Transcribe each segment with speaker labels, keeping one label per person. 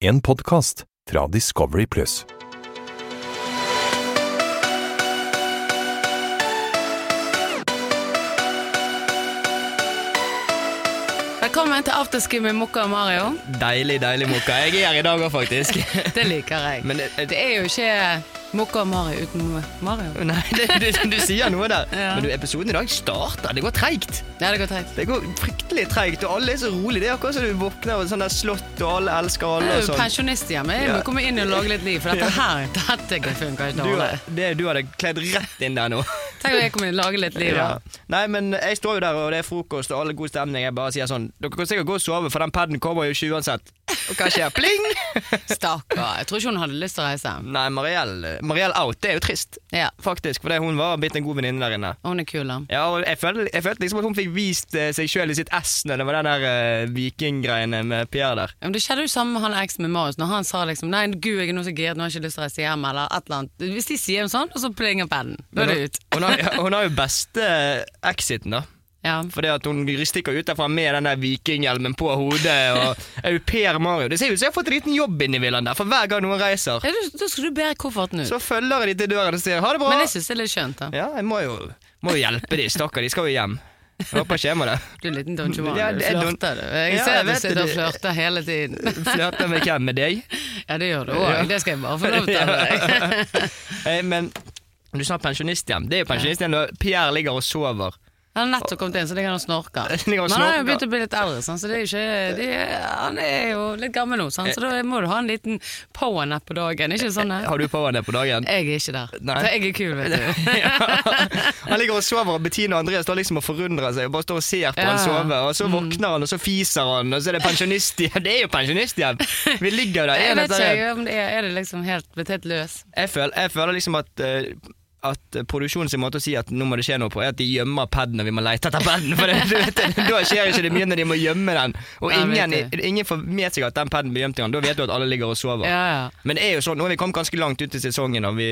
Speaker 1: En podkast fra Discovery Pluss.
Speaker 2: Velkommen til afterski med Mokka og Mario.
Speaker 3: Deilig, deilig mokka. Jeg er her i dag òg, faktisk.
Speaker 2: Det liker jeg.
Speaker 3: Men det,
Speaker 2: Det er jo ikke Mokka og Mario uten Mario.
Speaker 3: Nei, det, du, du sier noe der.
Speaker 2: Ja.
Speaker 3: Men du, episoden i dag starter. Det går treigt.
Speaker 2: Ja, det går teit.
Speaker 3: Det går fryktelig treigt, og alle er så rolig. Det er akkurat som du våkner av et sånt der slott, og alle elsker
Speaker 2: Jeg
Speaker 3: alle.
Speaker 2: er
Speaker 3: og
Speaker 2: jo
Speaker 3: sånn.
Speaker 2: pensjonist hjemme. Jeg må
Speaker 3: Ja.
Speaker 2: komme inn og lage litt liv, for dette her dette går- funker ikke.
Speaker 3: Du,
Speaker 2: dårlig.
Speaker 3: det, du hadde kledd rett inn der nå.
Speaker 2: Tenk om jeg kommer inn og lager litt liv. da.
Speaker 3: Nei, men jeg står jo der, og det er frokost, og alle god stemning. Jeg bare sier sånn Dere kan sikkert gå og sove, for den paden kommer jo ikke uansett. Og hva skjer? Pling!
Speaker 2: Stakkar. Jeg tror ikke hun hadde lyst til å reise hjem.
Speaker 3: Nei, Mariell Mariell out. Det er jo trist,
Speaker 2: Ja.
Speaker 3: faktisk. For hun var blitt en god venninne der inne.
Speaker 2: Og Hun er kul, da.
Speaker 3: Ja, og jeg følte, jeg følte liksom at hun fikk vist eh, seg sjøl i sitt ess når det var den der eh, vikinggreiene med Pierre der.
Speaker 2: Ja, Men det skjedde jo samme med han eksen med Marius, når han sa liksom Nei, gud, jeg er nå så giret, nå har jeg ikke lyst til å reise hjem, eller et eller annet. Hvis de sier noe sånt, og så plinger pennen. Da er det ut.
Speaker 3: Hun har, hun har jo beste exiten, da.
Speaker 2: Ja.
Speaker 3: Fordi at hun stikker ut derfra med den der vikinghjelmen på hodet. Og au pair Mario. Det ser ut som jeg har fått en liten jobb inn i villaen der, for hver gang noen reiser,
Speaker 2: Ja, du- Da skal du bære kofferten ut.
Speaker 3: så følger de til døren og sier ha det bra.
Speaker 2: Men jeg syns det er litt skjønt, da.
Speaker 3: Ja, jeg må jo, må jo hjelpe de, stakkar. De skal jo hjem. Jeg håper ikke jeg må det.
Speaker 2: Du er en liten Don Giovanni.
Speaker 3: Ja,
Speaker 2: Du
Speaker 3: det er Don-
Speaker 2: flørter, du. Jeg
Speaker 3: Ja,
Speaker 2: ser
Speaker 3: jeg
Speaker 2: at du
Speaker 3: vet
Speaker 2: sitter og
Speaker 3: det.
Speaker 2: flørter hele tiden.
Speaker 3: Flørte med hvem? Med deg?
Speaker 2: Ja, det gjør du òg.
Speaker 3: Ja.
Speaker 2: Det skal jeg bare få lov til. å være.
Speaker 3: Eh, Men du sa pensjonisthjem. Det er jo pensjonisthjem når Pierre ligger og sover.
Speaker 2: Han har nettopp kommet inn, så ligger han og snorker. Men
Speaker 3: Ligger og
Speaker 2: han har jo
Speaker 3: snorker.
Speaker 2: begynt å bli litt eldre, sånn, så det er jo ikke det er, Han er jo litt gammel nå, sånn, så da må du ha en liten powernap på dagen. Ikke sånn? eh?
Speaker 3: Har du powernap på dagen?
Speaker 2: Jeg er ikke der.
Speaker 3: Nei.
Speaker 2: Så jeg er kul, vet du.
Speaker 3: Han ligger og sover, og Bettina og Andreas står liksom og forundrer seg. Og bare står og ser på
Speaker 2: Ja. Mm.
Speaker 3: han sove, og så våkner han, og så fiser han, og så er det pensjonisthjem. Det er jo pensjonisthjem! Vi ligger der
Speaker 2: Jeg
Speaker 3: en
Speaker 2: vet
Speaker 3: etter en.
Speaker 2: ikke om det er, er det liksom helt, blitt helt løs.
Speaker 3: Jeg føler, jeg føler liksom at eh, at produksjonen sin måte å si at nå må det skje noe på, er at de gjemmer paden når vi må lete etter paden. For det, du vet, da skjer ikke det mye når de må gjemme den. Og
Speaker 2: Ja, jeg
Speaker 3: ingen,
Speaker 2: vet
Speaker 3: ingen får med seg at den paden blir gjemt i gang. Da vet du at alle ligger og sover.
Speaker 2: Ja, ja.
Speaker 3: Men det er jo sånn, nå har vi kommet ganske langt ut i sesongen, og vi,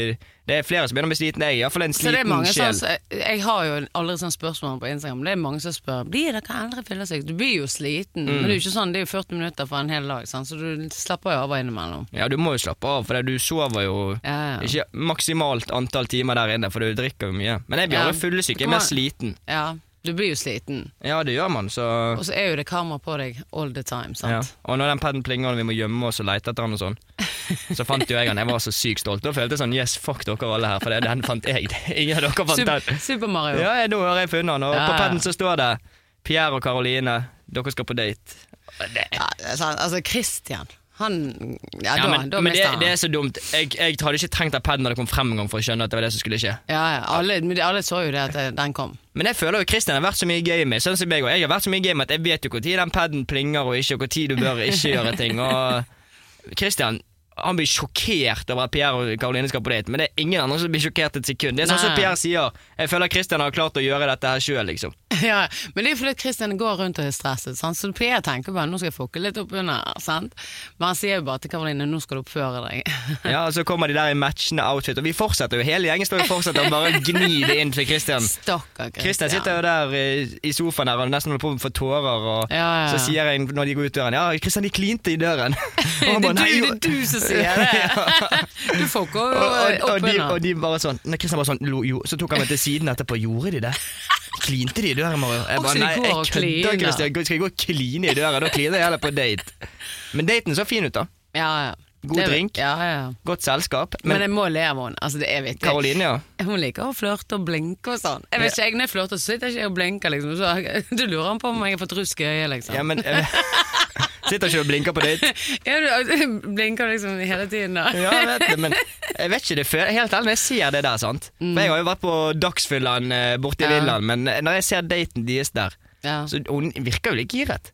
Speaker 3: det er flere som begynner å bli slitne. Jeg er iallfall en
Speaker 2: Så det er
Speaker 3: sliten
Speaker 2: mange sånn,
Speaker 3: sjel.
Speaker 2: jeg har jo aldri sånn spørsmål på Instagram, men det er mange som spør Blir dere eldre fyllesyke. Du blir jo sliten,
Speaker 3: Mm.
Speaker 2: men det er jo ikke sånn, det er jo 40 minutter for en hel dag, sant? så du slapper jo av og innimellom.
Speaker 3: Ja, du må jo slappe av, for du sover jo
Speaker 2: Ja, ja.
Speaker 3: ikke maksimalt antall timer der inne, for du drikker jo mye. Men jeg blir
Speaker 2: Ja.
Speaker 3: aldri fyllesyk, jeg er
Speaker 2: Kommer-
Speaker 3: mer sliten.
Speaker 2: ja, du blir jo sliten,
Speaker 3: Ja, det gjør man, så
Speaker 2: og så er jo det kamera på deg all the time. sant?
Speaker 3: ja. Og når den paden plinger og vi må gjemme oss og lete etter han og sånn, så fant jo jeg han. Jeg var så sykt stolt. Da følte jeg sånn yes, fuck dere alle her, for det, den fant jeg. Ingen av dere fant
Speaker 2: Super,
Speaker 3: den.
Speaker 2: Super Mario.
Speaker 3: Ja, jeg- nå har jeg funnet han, og
Speaker 2: Ja,
Speaker 3: på
Speaker 2: ja.
Speaker 3: paden så står det Pierre og Karoline, dere skal på date. Det
Speaker 2: Ja, det er sant. altså Christian, han Ja,
Speaker 3: Ja,
Speaker 2: da,
Speaker 3: men,
Speaker 2: da
Speaker 3: men det,
Speaker 2: mister han.
Speaker 3: det er så dumt. Jeg, jeg hadde ikke trengt at paden når det kom frem en gang for å skjønne at det var det som skulle skje.
Speaker 2: ja, ja, alle, men de- alle så jo det at eh, den kom.
Speaker 3: Men jeg føler jo Kristian har vært så mye game sånn som jeg, og jeg har vært så mye game at jeg vet jo når den paden plinger og ikke, og når du bør ikke gjøre ting. Og Kristian han blir sjokkert over at Pierre og Karoline skal på date, men det er ingen andre som blir sjokkert et sekund. Det er sånn som
Speaker 2: Nei.
Speaker 3: Pierre sier. Jeg føler Kristian har klart å gjøre dette her sjøl, liksom.
Speaker 2: Ja, men det er fordi at Christian går rundt og er stresset, sant? så Per tenker bare nå skal jeg fucke litt opp under her, sant? Men han sier jo bare til Karoline nå skal du oppføre deg.
Speaker 3: Ja, og Så kommer de der i matchende outfit, og vi fortsetter jo. Hele gjengen står og fortsetter å bare gni det inn til Kristian.
Speaker 2: Stakkar
Speaker 3: Kristian
Speaker 2: Christian.
Speaker 3: sitter jo der eh, i sofaen der og nesten holder på med å få tårer, og
Speaker 2: Ja, ja, ja.
Speaker 3: så sier jeg når de går ut døren Ja, Kristian, de klinte i døren. Og han
Speaker 2: det,
Speaker 3: bare,
Speaker 2: er
Speaker 3: «Nei,
Speaker 2: du,
Speaker 3: jo.»
Speaker 2: det er du som sier det! Du fucker
Speaker 3: og,
Speaker 2: jo
Speaker 3: og, og,
Speaker 2: opp
Speaker 3: de, og
Speaker 2: under.
Speaker 3: de bare sånn Nei, Kristian bare sånn lo, jo. Så tok han meg til siden etterpå. Gjorde de det? Klinte de i døren, Mario? Jeg
Speaker 2: Og så
Speaker 3: bare
Speaker 2: de
Speaker 3: nei,
Speaker 2: går og
Speaker 3: jeg
Speaker 2: kliner.
Speaker 3: kødder, Kristian. Skal jeg gå og kline i døren? Da kliner jeg heller på date. Men daten så fin ut, da.
Speaker 2: Ja, ja.
Speaker 3: God
Speaker 2: Det-
Speaker 3: drink.
Speaker 2: Ja, ja.
Speaker 3: Godt selskap.
Speaker 2: Men,
Speaker 3: Men
Speaker 2: jeg må le av henne. Altså, det er vittig.
Speaker 3: Karoline, ja.
Speaker 2: Hun liker å flørte og blinke og sånn. Jeg vet ikke, jeg, Når jeg flørter, så sitter ikke jeg og blinker, liksom. Så, du lurer på om jeg har fått rusk i øyet, liksom.
Speaker 3: ja men, eh, sitter ikke og blinker på date.
Speaker 2: Ja, du blinker liksom hele tiden, da.
Speaker 3: Ja, jeg vet det, men jeg vet ikke det før. Helt ærlig, når jeg ser det der, sant. For jeg har jo vært på Dagsfyllaen eh, borte i
Speaker 2: Ja.
Speaker 3: Lilland, men eh, når jeg ser daten deres der,
Speaker 2: Ja.
Speaker 3: så hun virker jo litt giret.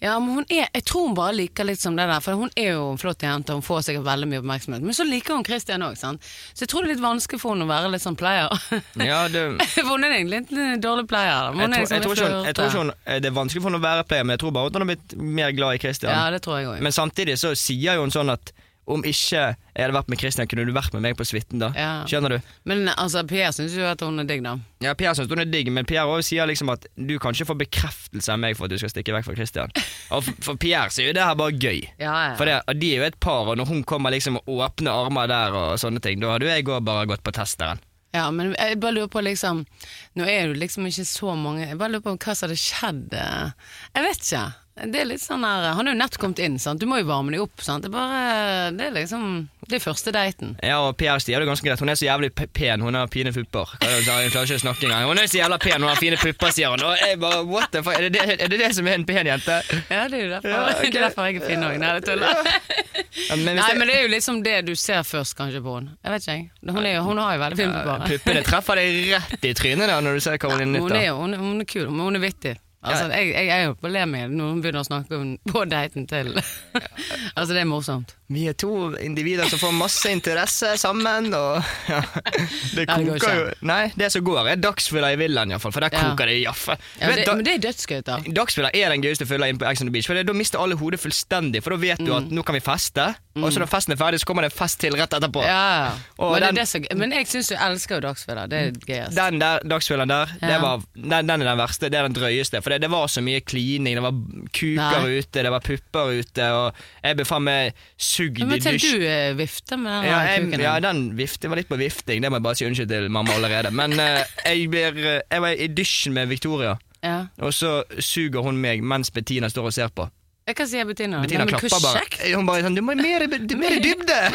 Speaker 2: Ja, men hun er, Jeg tror hun bare liker litt som det der, for hun er jo en flott jente og hun får sikkert veldig mye oppmerksomhet. Men så liker hun Christian òg, sant. Så jeg tror det er litt vanskelig for henne å være litt sånn player.
Speaker 3: Ja, det...
Speaker 2: for hun er egentlig litt en dårlig player. da. Men
Speaker 3: Jeg,
Speaker 2: Hun
Speaker 3: tror-
Speaker 2: er liksom
Speaker 3: jeg,
Speaker 2: litt
Speaker 3: tror ikke hun, jeg tror ikke
Speaker 2: flørte.
Speaker 3: hun, eh, Det er vanskelig for henne å være player, men jeg tror bare at hun har blitt mer glad i Christian.
Speaker 2: Ja, det tror jeg òg.
Speaker 3: Men samtidig så sier jo hun sånn at om ikke jeg hadde vært med Christian, kunne du vært med meg på suiten da?
Speaker 2: Ja.
Speaker 3: Skjønner du?
Speaker 2: Men altså, Per syns jo at hun er digg, da.
Speaker 3: Ja, Per syns hun er digg, men Per også sier liksom at du kan ikke få bekreftelse av meg for at du skal stikke vekk fra Christian. Og for, for Per så er jo det her bare gøy.
Speaker 2: Ja, ja.
Speaker 3: For det, og de er jo et par, og når hun kommer liksom og åpner armer der og sånne ting, da hadde jo jeg òg bare gått på testeren.
Speaker 2: Ja, men jeg bare lurer på liksom Nå er det liksom ikke så mange Jeg bare lurer på hva som hadde skjedd eh, Jeg vet ikke Det er litt sånn her Han er jo nett kommet inn, sant Du må jo varme deg opp, sant Det er bare Det er liksom Det er første daten
Speaker 3: Ja, og Per sier det ganske greit. Hun er så jævlig p- pen, hun har fine pupper. Hva er det Hun sier? Hun klarer ikke å snakke engang. Hun er så jævla pen, hun har fine pupper, sier hun. Og jeg bare, what the fuck, er det det, er det, det som er en pen jente?
Speaker 2: Ja, det er jo derfor
Speaker 3: Ja, ok.
Speaker 2: Det er derfor jeg er fin også Nei, det tuller
Speaker 3: Ja, men hvis
Speaker 2: Nei,
Speaker 3: det-
Speaker 2: men det er jo liksom det du ser først kanskje på henne Jeg vet ikke jeg Hun, er jo, hun har jo veldig fin på
Speaker 3: Ja,
Speaker 2: bare
Speaker 3: Puppene treffer deg rett i trynet da når du ser Karoline Nytt.
Speaker 2: Hun
Speaker 3: da.
Speaker 2: er jo hun, er- hun er kul, men hun er vittig Altså, jeg, jeg er jo på le med når hun begynner å snakke om på daten til Altså, det er morsomt
Speaker 3: Vi er to individer som får masse interesse sammen, og ja.
Speaker 2: Nei,
Speaker 3: Det
Speaker 2: det går
Speaker 3: koker jo
Speaker 2: ikke.
Speaker 3: Nei, det som går, er dagsfylla i villaen iallfall, for der
Speaker 2: Ja.
Speaker 3: koker det jaffe.
Speaker 2: ja, det, Men det er dødsgøy da
Speaker 3: Dagsfylla er den gøyeste fylla inne på Ex on the Beach. For det, Da mister alle hodet fullstendig, for da vet du
Speaker 2: Mm.
Speaker 3: at nå kan vi feste. Og så når festen er ferdig, så kommer det en fest til rett etterpå.
Speaker 2: Ja,
Speaker 3: Og
Speaker 2: men, det er
Speaker 3: den- Mm.
Speaker 2: det som- men jeg syns jo elsker jo dagsfylla. Det er altså. gøyest.
Speaker 3: Den der dagsfyllaen der,
Speaker 2: Ja.
Speaker 3: det var, den, den er den verste. Det er den drøyeste. For det, det var så mye klining. Det var kuker
Speaker 2: Nei.
Speaker 3: ute, det var pupper ute, og jeg ble faen meg sugd
Speaker 2: Men
Speaker 3: i
Speaker 2: tenk
Speaker 3: dusj.
Speaker 2: du eh, vifter med den
Speaker 3: Ja,
Speaker 2: her
Speaker 3: jeg,
Speaker 2: kuken.
Speaker 3: ja, den vift, det var litt på vifting. Det må jeg bare si unnskyld til mamma allerede. Men eh, jeg, blir, eh, jeg var i dusjen med Victoria,
Speaker 2: Ja.
Speaker 3: og så suger hun meg mens Bettina står og ser på.
Speaker 2: Jeg kan si jeg Bettina.
Speaker 3: Bettina
Speaker 2: Nei, men
Speaker 3: klapper
Speaker 2: hvor
Speaker 3: bare.
Speaker 2: kjekt,
Speaker 3: Eh, Hun bare sånn 'Du må i mer, i- du- mer i dybde!'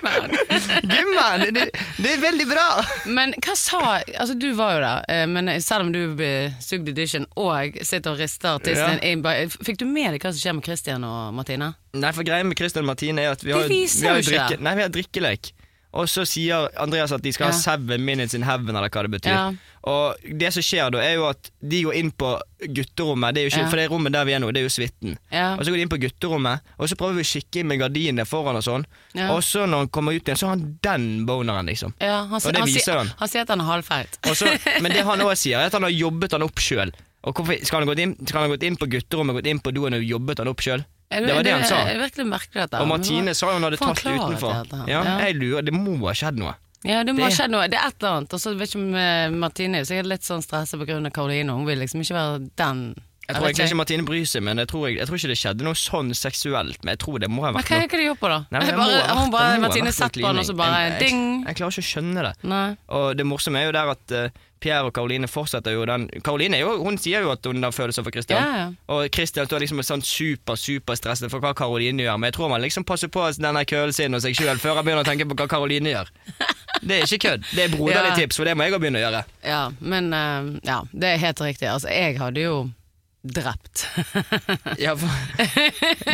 Speaker 2: men.
Speaker 3: Gumman! Det, det er veldig bra!
Speaker 2: Men hva sa Altså, du var jo der, eh, men selv om du ble sugd i dusjen og sitter og rister tissen
Speaker 3: Ja.
Speaker 2: din bare- eh, Fikk du med deg hva som skjer med Christian og Martine?
Speaker 3: Nei, for greia med Christian og Martine er at vi har,
Speaker 2: De
Speaker 3: vi
Speaker 2: viser
Speaker 3: har,
Speaker 2: jo ikke
Speaker 3: drikke,
Speaker 2: det.
Speaker 3: nei, vi har drikkelek. Og så sier Andreas at de skal
Speaker 2: Ja.
Speaker 3: ha seven minutes in heaven, eller hva det betyr.
Speaker 2: Ja.
Speaker 3: Og det som skjer da, er jo at de går inn på gutterommet, det er jo ikke,
Speaker 2: Ja.
Speaker 3: for det rommet der vi er nå, det er jo suiten.
Speaker 2: Ja.
Speaker 3: Og så går de inn på gutterommet, og så prøver vi å kikke inn med gardinene foran og sånn.
Speaker 2: Ja.
Speaker 3: Og så når han kommer ut igjen, så har han den boneren, liksom.
Speaker 2: Ja, han, sier-
Speaker 3: det
Speaker 2: han,
Speaker 3: viser
Speaker 2: sier-
Speaker 3: han.
Speaker 2: han sier at han er halvfeit.
Speaker 3: Og så, men det han òg sier, er at han har jobbet han opp sjøl. Og hvorfor skal han, gått inn, skal han ha gått inn på gutterommet, gått inn på doen og jobbet han opp sjøl?
Speaker 2: Er
Speaker 3: Det var det han sa.
Speaker 2: Er virkelig merkelig dette.
Speaker 3: Og
Speaker 2: Men hva-
Speaker 3: Martine sa jo hun hadde
Speaker 2: får han
Speaker 3: tatt det
Speaker 2: klarhet i
Speaker 3: utenfor.
Speaker 2: dette her?
Speaker 3: Ja,
Speaker 2: Ja.
Speaker 3: jeg lurer, Det må ha skjedd noe.
Speaker 2: Ja, det må
Speaker 3: Det-
Speaker 2: ha skjedd noe. Det er et eller annet. Og så vet ikke om eh, Martine er sikkert litt sånn stressa pga. Karoline. Hun vil liksom ikke være den.
Speaker 3: Jeg tror
Speaker 2: vet
Speaker 3: egentlig ikke Martine bryr seg, men jeg tror, jeg, jeg tror ikke det skjedde noe sånn seksuelt. Men jeg tror det må ha
Speaker 2: Men
Speaker 3: vært
Speaker 2: hva
Speaker 3: noe.
Speaker 2: er det de gjør på, da?
Speaker 3: Nei, men det må
Speaker 2: bare,
Speaker 3: ha vært-
Speaker 2: hun bare,
Speaker 3: det må ha
Speaker 2: Martine
Speaker 3: vært noe
Speaker 2: setter på den, og så
Speaker 3: klining.
Speaker 2: bare
Speaker 3: Jeg-
Speaker 2: ding.
Speaker 3: Jeg, jeg klarer ikke å skjønne det.
Speaker 2: Nei.
Speaker 3: Og det morsomme er jo der at eh, Pierre og Karoline fortsetter jo den Karoline er jo, hun sier jo at hun har følelser for Christian.
Speaker 2: Ja, ja.
Speaker 3: Og Christian står liksom sånn super, superstresset for hva Karoline gjør. Men jeg tror man liksom passer på denne kølen sin og seg sjøl før han begynner å tenke på hva Karoline gjør. Det er ikke kødd. Det er broderlig
Speaker 2: Ja.
Speaker 3: tips, for det må jeg òg begynne å gjøre.
Speaker 2: Ja, men eh, ja, det er helt riktig. Altså, jeg hadde jo drept.
Speaker 3: Ja, for,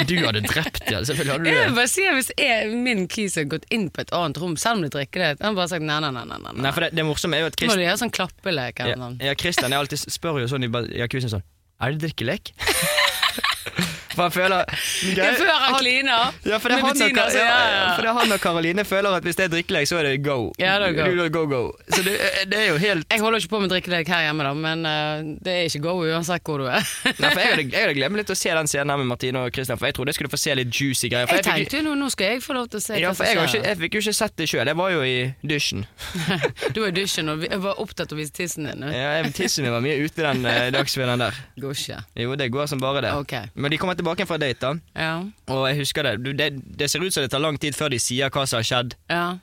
Speaker 3: du hadde drept, ja. Selvfølgelig hadde du
Speaker 2: Jeg vil
Speaker 3: det.
Speaker 2: bare si at Hvis jeg, min kis hadde gått inn på et annet rom, selv om de drikker det, han hadde bare sagt nei, nei, nei. nei, nei.
Speaker 3: Nei, for det, det morsomme er jo at
Speaker 2: Så må
Speaker 3: Christian,
Speaker 2: de gjøre sånn klappelek eller noe.
Speaker 3: ja, ja, Christian jeg alltid spør jo sånn i ba- jacuzzien sånn Er det drikkelek? For han føler
Speaker 2: Det er Før han kliner.
Speaker 3: Ja, for det er
Speaker 2: med
Speaker 3: han og,
Speaker 2: Bettina,
Speaker 3: Ka-
Speaker 2: så
Speaker 3: ja,
Speaker 2: ja,
Speaker 3: ja,
Speaker 2: ja.
Speaker 3: for det er han og Karoline føler at hvis det er drikkelek, så er det go.
Speaker 2: Ja, det er go.
Speaker 3: Du- du- go, go. Så det, eh, det er jo helt
Speaker 2: Jeg holder ikke på med drikkelek her hjemme, da, men eh, det er ikke go uansett hvor du er.
Speaker 3: Nei, for jeg hadde, jeg hadde glemt litt å se den scenen her med Martine og Christian, for jeg trodde jeg skulle få se litt juicy greier. For
Speaker 2: jeg
Speaker 3: fikk-
Speaker 2: tenkte jo nå, nå skal jeg få lov til å se
Speaker 3: ja,
Speaker 2: hva
Speaker 3: for
Speaker 2: som
Speaker 3: jeg, har ikke,
Speaker 2: skjer.
Speaker 3: jeg fikk jo ikke sett det sjøl, jeg var jo i dusjen.
Speaker 2: Du var i dusjen og vi- jeg var opptatt av å vise tissen din. Det
Speaker 3: Ja, jeg- Tissen min var mye ute den eh, dagsfilmen der.
Speaker 2: Går ikke.
Speaker 3: Jo, det går som bare det.
Speaker 2: Ok.
Speaker 3: Men de kommer tilbake fra date, da.
Speaker 2: Ja.
Speaker 3: Og jeg husker det. Du, det. Det ser ut som det tar lang tid før de sier hva som har skjedd.
Speaker 2: ja.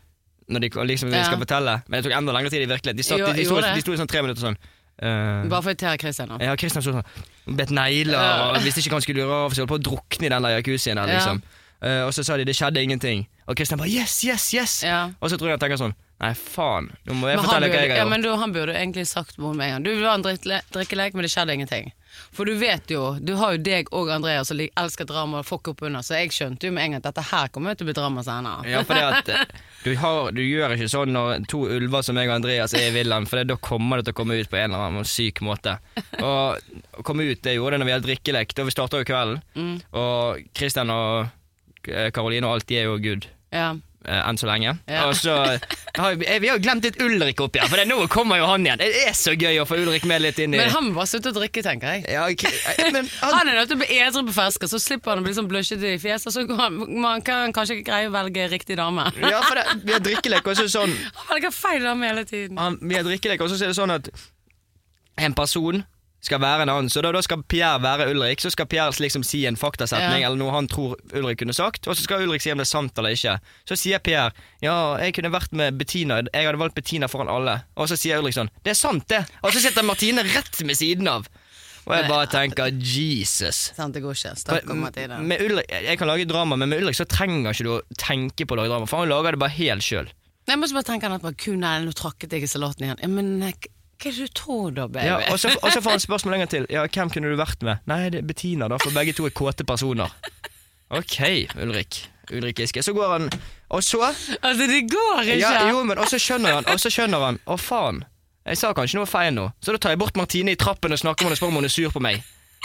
Speaker 3: Når de liksom
Speaker 2: Ja.
Speaker 3: skal fortelle Men det tok enda lengre tid i virkeligheten. De, satt,
Speaker 2: Jo,
Speaker 3: de, de, sto,
Speaker 2: gjorde det.
Speaker 3: de sto i sånn tre minutter sånn. eh,
Speaker 2: Bare for å irritere Christian nå.
Speaker 3: ja, Kristian sto sånn Bet negler
Speaker 2: Ja.
Speaker 3: og visste ikke hva han skulle gjøre av seg. Holdt på å drukne i den der jacuzzien der,
Speaker 2: Ja.
Speaker 3: liksom. Eh, og så sa de det skjedde ingenting. Og Kristian bare yes, yes, yes!
Speaker 2: Ja.
Speaker 3: Og så tror jeg han tenker sånn Nei, faen. Nå må jeg
Speaker 2: Men han
Speaker 3: fortelle
Speaker 2: burde,
Speaker 3: hva jeg
Speaker 2: ja,
Speaker 3: har gjort.
Speaker 2: men du, han burde egentlig sagt noe med en gang. Du det var en drittle- drikkelek, men det skjedde ingenting. For du vet jo, du har jo deg og Andreas som lik- elsker drama og fuck opp under, så jeg skjønte jo med en gang at dette her kommer jo til å bli drama senere.
Speaker 3: Ja, for det at eh, du, har, du gjør ikke sånn når to ulver som meg og Andreas er i villaen, for det, da kommer det til å komme ut på en eller annen syk måte. Og å komme ut, det gjorde det når vi hadde drikkelek. Da vi
Speaker 2: Mm.
Speaker 3: eh, starta jo kvelden. Og Kristian og Karoline og alt, de er jo good.
Speaker 2: Ja.
Speaker 3: eh, enn så lenge.
Speaker 2: Ja.
Speaker 3: Og så har vi, eh, vi har jo glemt litt Ulrik oppi her, for det, nå kommer jo han igjen. Det er så gøy å få Ulrik med litt inn i
Speaker 2: Men han må bare slutte å drikke, tenker jeg.
Speaker 3: ja, ok, eh, men han,
Speaker 2: Han er nødt til å bli edru på fersken, så slipper han å bli sånn bløsjete i fjeset. Så går han, man kan kanskje ikke greie å velge riktig dame.
Speaker 3: ja, for det, vi har drikkelek, og så er det sånn
Speaker 2: Han velger feil dame hele tiden.
Speaker 3: han, Vi har drikkelek, og så er det sånn at en person skal være en annen. Så da, da skal Pierre være Ulrik, så skal Pierre liksom si en faktasetning
Speaker 2: Ja.
Speaker 3: eller noe han tror Ulrik kunne sagt, og så skal Ulrik si om det er sant eller ikke. Så sier Pierre ja, jeg kunne vært med Bettina, jeg hadde valgt Bettina foran alle. Og så sier Ulrik sånn det er sant, det. Og så sitter Martine rett ved siden av. Og jeg bare tenker Jesus.
Speaker 2: Sant, det går ikke. Stakkar Mathilde.
Speaker 3: Med Ulrik, jeg kan lage drama, men med Ulrik så trenger ikke du å tenke på å lage drama, for han lager det bare helt sjøl.
Speaker 2: Nei, Jeg må ikke bare tenke han at bare, «Ku, nei, nå trakket jeg i salaten igjen. Ja, men eh, k- hva er det du tror da, baby?
Speaker 3: Ja, og, så, og så får han spørsmål lenger til. Ja, Hvem kunne du vært med? Nei, det er Bettina, da, for begge to er kåte personer. Ok, Ulrik. Ulrik Giske. Så går han, og så
Speaker 2: Altså, det går ikke!
Speaker 3: ja, Jo, men og så skjønner han, og så skjønner han. Å, faen. Jeg sa kanskje noe feil nå. Så da tar jeg bort Martine i trappen og snakker med henne og spør om hun er sur på meg.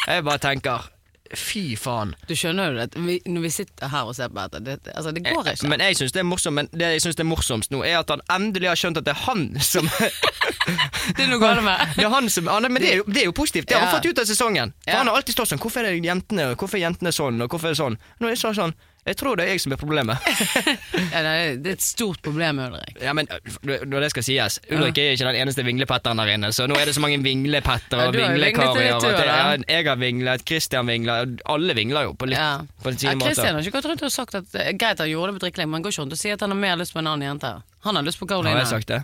Speaker 3: Jeg bare tenker fy faen.
Speaker 2: Du skjønner jo det, vi, når vi sitter her og ser på dette, det, altså, det går ikke.
Speaker 3: Men jeg syns det er morsomt Men det jeg synes det er morsomst nå, er at han endelig har skjønt at det er han som
Speaker 2: det er noe galt med.
Speaker 3: Det er han som, han, men det er, jo, det er jo positivt. Det har han
Speaker 2: Ja.
Speaker 3: fått ut av sesongen. For
Speaker 2: Ja.
Speaker 3: Han har alltid stått sånn. Hvorfor er det jentene Hvorfor er jentene sånn, og hvorfor er det sånn? Nå er det sånn, sånn Jeg tror det er jeg som er problemet.
Speaker 2: Ja, det, er, det er et stort problem, Ulrik.
Speaker 3: ja, men øh, Når det skal sies, Ulrik er ikke den eneste vinglepetteren der inne, så nå er det så mange vinglepettere
Speaker 2: Ja,
Speaker 3: og
Speaker 2: du har jo
Speaker 3: vinglekarer.
Speaker 2: vinglet litt,
Speaker 3: og
Speaker 2: du,
Speaker 3: at det-
Speaker 2: da.
Speaker 3: ja, Jeg har vinglet, Christian vingler, og alle vingler jo på litt
Speaker 2: Ja.
Speaker 3: på
Speaker 2: Ja,
Speaker 3: sine måter.
Speaker 2: Kristian har ikke gått rundt og sagt at eh, Greit, han gjorde det på drikkelegg, men han går ikke rundt og sier at han har mer lyst på en annen jente. Han har lyst på
Speaker 3: Har
Speaker 2: Karoline.
Speaker 3: jeg sagt det?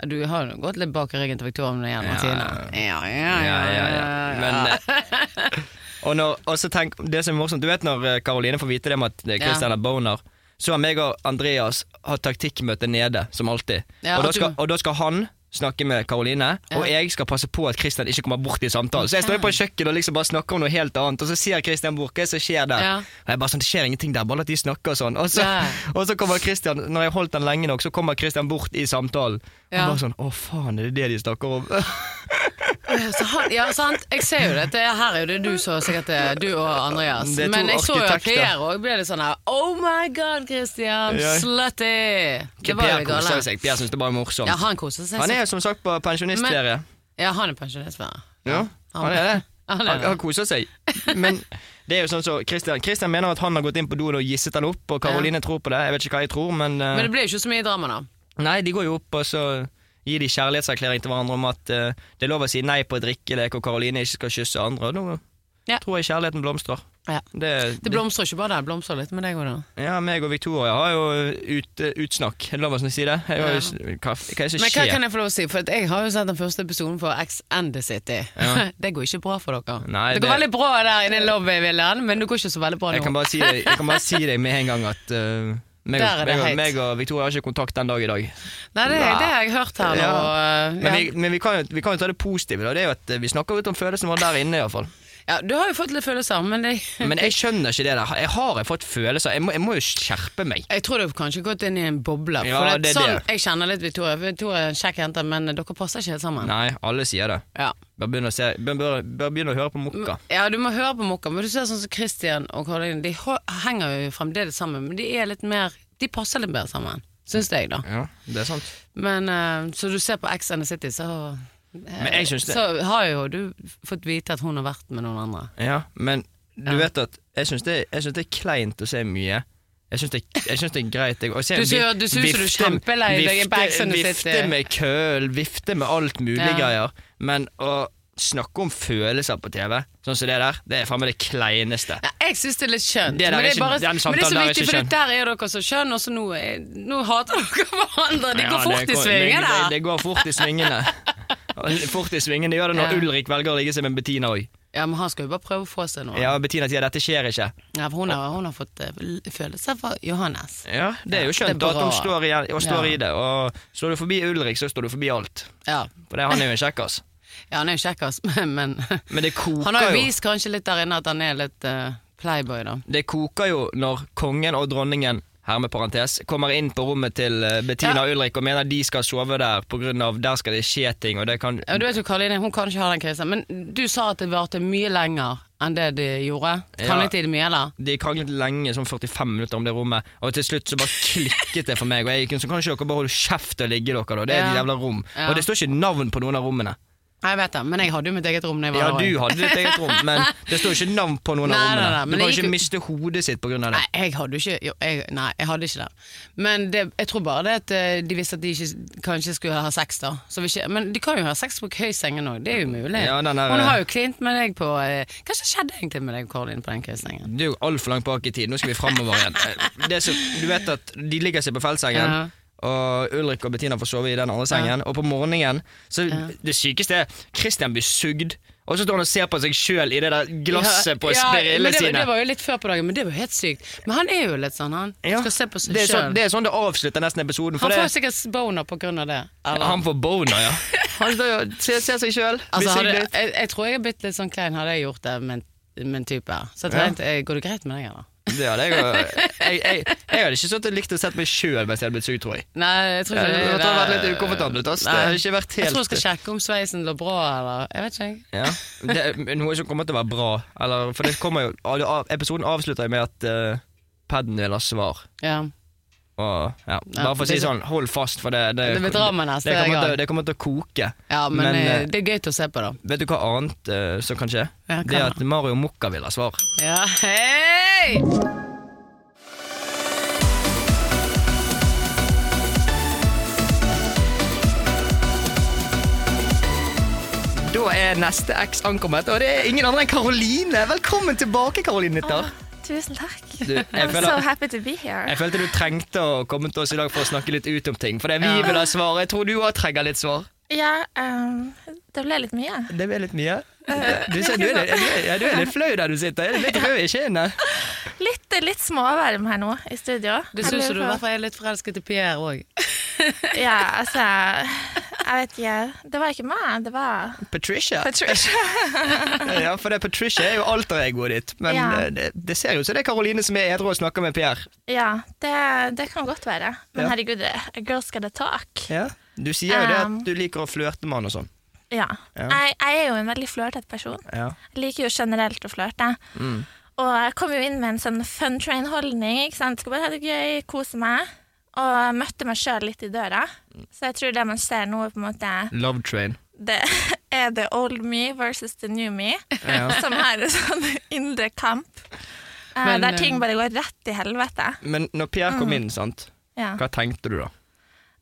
Speaker 2: Ja, Du har jo gått litt bak i ryggen til Victoria når det gjelder Martine. Ja, ja,
Speaker 3: Ja, ja, ja. Men, eh, og, når, og så tenk, det som er morsomt, du vet når eh, Caroline får vite det med at eh, Christian er boner, så har meg og Andreas hatt taktikkmøte nede, som alltid.
Speaker 2: Ja, at
Speaker 3: og, da
Speaker 2: du-
Speaker 3: skal, og da skal han snakke med Caroline, og
Speaker 2: Ja.
Speaker 3: jeg skal passe på at Christian ikke kommer bort i samtalen. Så jeg står jo på kjøkkenet og liksom bare snakker om noe helt annet, og så ser Christian bort, hva er det som skjer der?
Speaker 2: Ja.
Speaker 3: Og jeg bare sånn, det skjer ingenting der, bare la de snakke og sånn. Og så,
Speaker 2: Ja.
Speaker 3: og så kommer Christian, når jeg har holdt den lenge nok, så kommer Christian bort i samtalen. Og
Speaker 2: Ja.
Speaker 3: bare sånn, å faen, er det det de snakker om?
Speaker 2: Ja, Så han, ja, sant. Jeg ser jo dette. Her er jo det du så sikkert eh, Du og Andreas.
Speaker 3: Det er to
Speaker 2: Men jeg så jo at
Speaker 3: arkitekter.
Speaker 2: Per òg ble litt sånn her Oh my god, Christian!
Speaker 3: Ja.
Speaker 2: Slutty! Det var jo
Speaker 3: Per
Speaker 2: det
Speaker 3: koser
Speaker 2: gale.
Speaker 3: seg. Per syns det bare er morsomt.
Speaker 2: Ja, han koser seg.
Speaker 3: han
Speaker 2: så-
Speaker 3: er jo som sagt på pensjonistferie.
Speaker 2: Ja, han er pensjonist, Sverre.
Speaker 3: Ja, han er det.
Speaker 2: Han er
Speaker 3: Han,
Speaker 2: det.
Speaker 3: han koser seg. Men det er jo sånn så Christian, Christian mener at han har gått inn på doen og gisset han opp, og Karoline tror på det. Jeg vet ikke hva jeg tror, men, eh,
Speaker 2: Men det ble jo ikke så mye drama, da.
Speaker 3: Nei, de går jo opp, og så gir de kjærlighetserklæring til hverandre om at eh, det er lov å si nei på drikkelek, og Karoline ikke skal kysse andre. Og nå
Speaker 2: Ja.
Speaker 3: tror jeg kjærligheten blomstrer.
Speaker 2: Ja.
Speaker 3: Det,
Speaker 2: Det blomstrer ikke bare der, det blomstrer litt med deg òg, da.
Speaker 3: ja, meg og Victoria har jo ut, utsnakk. Er det lov å si det? Jeg har jo, hva, hva er det som
Speaker 2: Men hva
Speaker 3: skjer?
Speaker 2: kan jeg få lov å si? For at jeg har jo sett den første episoden for X and the City. det går ikke bra for dere.
Speaker 3: Nei,
Speaker 2: det
Speaker 3: det-
Speaker 2: går veldig bra der inne i lobbyvillaen, men det går ikke så veldig bra
Speaker 3: Jeg kan
Speaker 2: nå.
Speaker 3: bare si deg, jeg kan bare si deg med en gang at eh, meg,
Speaker 2: Der er det
Speaker 3: og- meg, og-
Speaker 2: heit.
Speaker 3: meg og Victoria har ikke kontakt den dag i dag.
Speaker 2: Nei, det, det har jeg hørt her nå.
Speaker 3: Ja.
Speaker 2: og, eh,
Speaker 3: Men,
Speaker 2: ja.
Speaker 3: vi, men vi, kan, jo- vi kan jo ta det positive. Da. Det er jo at eh, Vi snakker ut om følelsen vår der inne. I hvert fall.
Speaker 2: ja, du har jo fått litt følelser, men det,
Speaker 3: Men jeg skjønner ikke det der. Jeg har jeg fått følelser. Jeg må, jeg må jo skjerpe meg.
Speaker 2: jeg tror du har kanskje gått inn i en boble. For
Speaker 3: Ja,
Speaker 2: at
Speaker 3: det er
Speaker 2: sånn,
Speaker 3: det.
Speaker 2: Jeg kjenner litt Victoria. Victoria er en kjekk jente, men dere passer ikke helt sammen.
Speaker 3: Nei, alle sier det.
Speaker 2: Ja.
Speaker 3: Bare begynne å, se, bør, bør, bør begynne å høre på Mokka.
Speaker 2: ja, du må høre på Mokka, men du ser sånn som Christian og Karoline, de ho- henger jo fremdeles sammen, men de er litt mer De passer litt bedre sammen, syns jeg, da.
Speaker 3: Ja, det er sant.
Speaker 2: Men eh, så du ser på X and the City, så eh,
Speaker 3: Men jeg synes det-
Speaker 2: Så har jo du fått vite at hun har vært med noen andre.
Speaker 3: Ja, men du
Speaker 2: Ja.
Speaker 3: vet at jeg syns det, jeg synes det er kleint å se mye. Jeg syns det, jeg synes det er greit. Jeg, å se
Speaker 2: Du ser-
Speaker 3: vif-
Speaker 2: du ser ut som du er
Speaker 3: vifte-
Speaker 2: kjempelei deg i
Speaker 3: vifte-
Speaker 2: backsiden du sitter
Speaker 3: Vifte
Speaker 2: i.
Speaker 3: med køl, vifte med alt mulig
Speaker 2: Ja.
Speaker 3: greier. Men å snakke om følelser på TV, sånn som det der, det er faen meg det kleineste.
Speaker 2: Ja, jeg syns det er litt skjønt,
Speaker 3: Det der
Speaker 2: men,
Speaker 3: er
Speaker 2: det
Speaker 3: ikke-
Speaker 2: er bare, men det
Speaker 3: den
Speaker 2: er
Speaker 3: samtalen
Speaker 2: så
Speaker 3: der er
Speaker 2: viktig,
Speaker 3: ikke
Speaker 2: for
Speaker 3: skjønn.
Speaker 2: der er dere så skjønn, og så nå, er- nå hater dere hverandre. De
Speaker 3: Ja,
Speaker 2: går fort i svingene.
Speaker 3: Det, det går fort i svingene. Fort i svingene det gjør det når
Speaker 2: Ja.
Speaker 3: Ulrik velger å ligge seg med Bettina òg.
Speaker 2: Ja, men han skal jo bare prøve å få seg noe. Ja.
Speaker 3: Ja, Bettina sier 'dette skjer ikke'.
Speaker 2: for hun har, hun har fått eh, l- følelser for Johannes.
Speaker 3: Ja, Det er
Speaker 2: Ja,
Speaker 3: jo
Speaker 2: det er
Speaker 3: skjønt da, at hun
Speaker 2: bra.
Speaker 3: står, i, og står
Speaker 2: Ja.
Speaker 3: i det. Og står du forbi Ulrik, så står du forbi alt.
Speaker 2: Ja,
Speaker 3: For det, han er jo en kjekkas.
Speaker 2: ja han er jo kjekkas, men, men
Speaker 3: Men det koker
Speaker 2: han har jo
Speaker 3: jo.
Speaker 2: vist kanskje litt der inne at han er litt eh, playboy, da.
Speaker 3: Det koker jo når kongen og dronningen her med parentes, kommer inn på rommet til eh, Bettina og Ulrik og mener de skal sove der pga. der skal det skje ting. Og det kan
Speaker 2: Ja, du vet jo, Karoline, hun kan ikke ha den krisen, men du sa at det varte mye lenger enn det de gjorde?
Speaker 3: Ja.
Speaker 2: Kranglet de mye, eller?
Speaker 3: De kranglet lenge, sånn 45 minutter om det rommet, og til slutt så bare klikket det for meg. Og jeg gikk inn, så kan ikke dere bare holde kjeft og ligge dere, da. Det er et
Speaker 2: Ja.
Speaker 3: jævla rom.
Speaker 2: Ja.
Speaker 3: Og det står ikke navn på noen av rommene.
Speaker 2: Nei, Jeg vet det, men jeg hadde jo mitt eget rom da jeg var
Speaker 3: Ja,
Speaker 2: der
Speaker 3: du
Speaker 2: også.
Speaker 3: hadde ditt eget rom, men det står ikke navn på noen
Speaker 2: Nei,
Speaker 3: av
Speaker 2: nei,
Speaker 3: rommene.
Speaker 2: nei, men
Speaker 3: du
Speaker 2: det
Speaker 3: kan
Speaker 2: gikk
Speaker 3: ikke
Speaker 2: jo-
Speaker 3: miste hodet sitt på grunn av det.
Speaker 2: Nei, jeg hadde jo ikke jo, jeg, Nei, jeg hadde ikke det. Men det, jeg tror bare det at eh, de visste at de ikke, kanskje skulle ha sex, da. Så vi ikke, men de kan jo ha sex på køysengen òg, det er jo mulig.
Speaker 3: Ja, den der- eh,
Speaker 2: Hun har jo klint med deg på eh, Hva som skjedde egentlig med deg og Karoline på den køysengen?
Speaker 3: Du er jo altfor langt bak i tid. Nå skal vi framover igjen. Eh, Det er så, du vet at de ligger seg på feltsengen,
Speaker 2: Ja.
Speaker 3: og Ulrik og Bettina får sove i den andre sengen. Og på morgenen Så det sykeste er Christian blir sugd, og så står han og ser på seg sjøl i det der glasset på
Speaker 2: men
Speaker 3: sprillene
Speaker 2: det,
Speaker 3: sine.
Speaker 2: det var jo litt før på dagen, men det var jo helt sykt. Men han er jo litt sånn, han.
Speaker 3: Ja,
Speaker 2: Skal se på seg
Speaker 3: det, er sånn,
Speaker 2: sjøl.
Speaker 3: det er sånn det avslutter nesten episoden. For
Speaker 2: Han får
Speaker 3: det,
Speaker 2: sikkert boner på grunn av det. eller?
Speaker 3: han får boner, ja. Han står jo og ser, ser seg sjøl.
Speaker 2: Altså, hadde, jeg, jeg tror jeg hadde blitt litt sånn klein hadde jeg gjort det med en- med en type. Så jeg tenkte, eh, går det greit med deg, eller?
Speaker 3: Det hadde jeg jo. Jeg, jeg, jeg hadde ikke sånn likt å sett meg sjøl mens jeg hadde blitt sugd, tror jeg.
Speaker 2: Nei, jeg tror
Speaker 3: Ja,
Speaker 2: ikke
Speaker 3: det måtte ha vært litt ukomfortabelt, ass. Det
Speaker 2: Nei.
Speaker 3: hadde ikke vært
Speaker 2: Jeg tror jeg
Speaker 3: helt-
Speaker 2: skal sjekke om sveisen lå bra, eller Jeg vet ikke, jeg.
Speaker 3: Ja. Det er noe som kommer til å være bra. Eller, for det kommer jo av- av- Episoden avslutter jo med at uh, paden vil ha svar.
Speaker 2: Ja.
Speaker 3: Og, ja. Bare for å si sånn, hold fast, for det
Speaker 2: Det blir drama neste
Speaker 3: det kommer,
Speaker 2: gang.
Speaker 3: til, det kommer til å koke.
Speaker 2: ja men, eh,
Speaker 3: eh,
Speaker 2: det er gøy til å se på, da.
Speaker 3: vet du hva annet eh, som kan skje?
Speaker 2: Ja, hva
Speaker 3: det er
Speaker 2: da?
Speaker 3: at Mario Mokka vil ha svar.
Speaker 2: Ja, hei!
Speaker 3: Da er neste X ankommet, og det er ingen andre enn Karoline. Velkommen tilbake, Karoline Nytter.
Speaker 4: Tusen takk.
Speaker 3: Du, jeg
Speaker 4: I'm
Speaker 3: føler-
Speaker 4: so happy to be here.
Speaker 3: Jeg følte du trengte å komme til oss i dag for å snakke litt ut om ting. For det er vi vil ha svar. Jeg tror du òg trenger litt svar.
Speaker 4: Ja, ehm, det ble litt mye.
Speaker 3: Det ble litt mye. Du, ser, du, er, litt- du, er, ja, du er litt flau der du sitter. Jeg er litt rød i kinnet.
Speaker 4: Litt, litt småvarm her nå i studio.
Speaker 2: Det
Speaker 4: Jeg
Speaker 2: syns
Speaker 4: lurer
Speaker 2: du i
Speaker 4: på-
Speaker 2: hvert fall jeg er litt forelsket i Pierre òg.
Speaker 4: Ja, altså Jeg vet ikke. Det var ikke meg, det var
Speaker 3: Patricia.
Speaker 4: Patricia.
Speaker 3: Ja, for det er Patricia er jo alteregoet ditt. Men
Speaker 4: Ja.
Speaker 3: eh, det, det ser jo ut som det er Karoline som er edru og snakker med Pierre.
Speaker 4: Ja, det, det kan godt være. Men
Speaker 3: Ja.
Speaker 4: herregud, a girl's gotta talk.
Speaker 3: Ja. Du sier jo det at
Speaker 4: Um.
Speaker 3: du liker å flørte med han og sånn.
Speaker 4: Ja.
Speaker 3: Ja.
Speaker 4: Jeg, jeg er jo en veldig flørtete person.
Speaker 3: Ja.
Speaker 4: Jeg liker jo generelt å flørte. Og jeg kom jo inn med en sånn fun train-holdning. ikke sant? Skal bare ha det gøy, kose meg. Og jeg møtte meg sjøl litt i døra. Så jeg tror det man ser nå, er på en måte
Speaker 3: Love train.
Speaker 4: Det er the old me versus the new me,
Speaker 3: Ja.
Speaker 4: som her er sånn indre kamp. eh,
Speaker 2: Men,
Speaker 4: der ting bare går rett til helvete.
Speaker 3: Men når Pierre
Speaker 4: Mm.
Speaker 3: kom inn, sant,
Speaker 4: Ja.
Speaker 3: hva tenkte du da?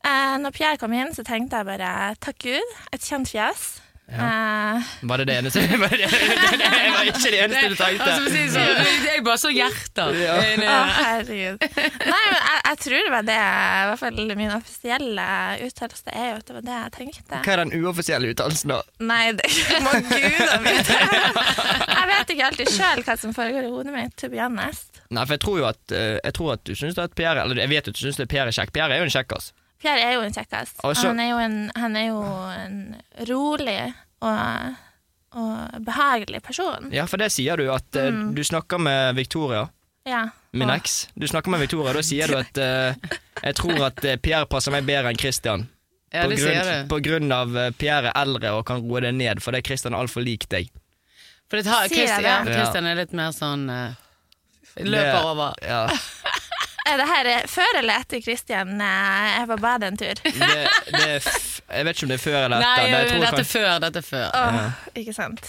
Speaker 4: Eh, når Pierre kom inn, så tenkte jeg bare takk Gud, et kjent fjes. Eh,
Speaker 3: Var det det eneste? Var det, det, det, det var ikke det eneste du tenkte.
Speaker 2: Altså, for å si det sånn, jeg bare så Eh, hjerter.
Speaker 3: Ja.
Speaker 2: Inni-
Speaker 4: Å, herregud. Nei, men jeg, jeg tror det var det I hvert fall min offisielle uttalelse er jo at det var det jeg tenkte.
Speaker 3: Hva er den uoffisielle uttalelsen da?
Speaker 4: Nei, det må gudene vite. Jeg vet ikke alltid sjøl hva som foregår i hodet mitt, to be honest.
Speaker 3: Nei, for jeg tror jo at, eh, jeg tror at du syns at Pierre Eller jeg vet jo at du syns det er Pierre er kjekk. Pierre er jo en kjekkas.
Speaker 4: Pierre er jo en kjekkas.
Speaker 3: Og så-
Speaker 4: Han er jo en, han er jo en rolig og, og behagelig person.
Speaker 3: Ja, for det sier du at eh,
Speaker 2: Mm.
Speaker 3: du snakker med Victoria,
Speaker 4: Ja.
Speaker 3: min
Speaker 2: Ah.
Speaker 4: og-
Speaker 3: eks. Du snakker med Victoria, da sier du at eh, jeg tror at eh, Pierre passer meg bedre enn Christian.
Speaker 2: Ja,
Speaker 3: på,
Speaker 2: det sier
Speaker 3: grunn,
Speaker 2: du.
Speaker 3: på grunn av eh, Pierre er eldre og kan roe deg ned, fordi Christian er altfor lik deg.
Speaker 2: For det har,
Speaker 4: Sier
Speaker 2: Christian,
Speaker 4: jeg
Speaker 2: ja,
Speaker 4: det?
Speaker 2: Christian er litt mer sånn eh,
Speaker 3: Det-
Speaker 2: Løper over.
Speaker 3: Ja.
Speaker 4: Er det her eh, før eller etter Christian eh, er på badet en tur?
Speaker 3: Det, det er f jeg vet ikke om det er før eller
Speaker 2: Nei, eh,
Speaker 3: etter. men jeg tror
Speaker 2: dette er
Speaker 3: kanskje-
Speaker 2: før, dette er før.
Speaker 4: Åh, Ikke sant.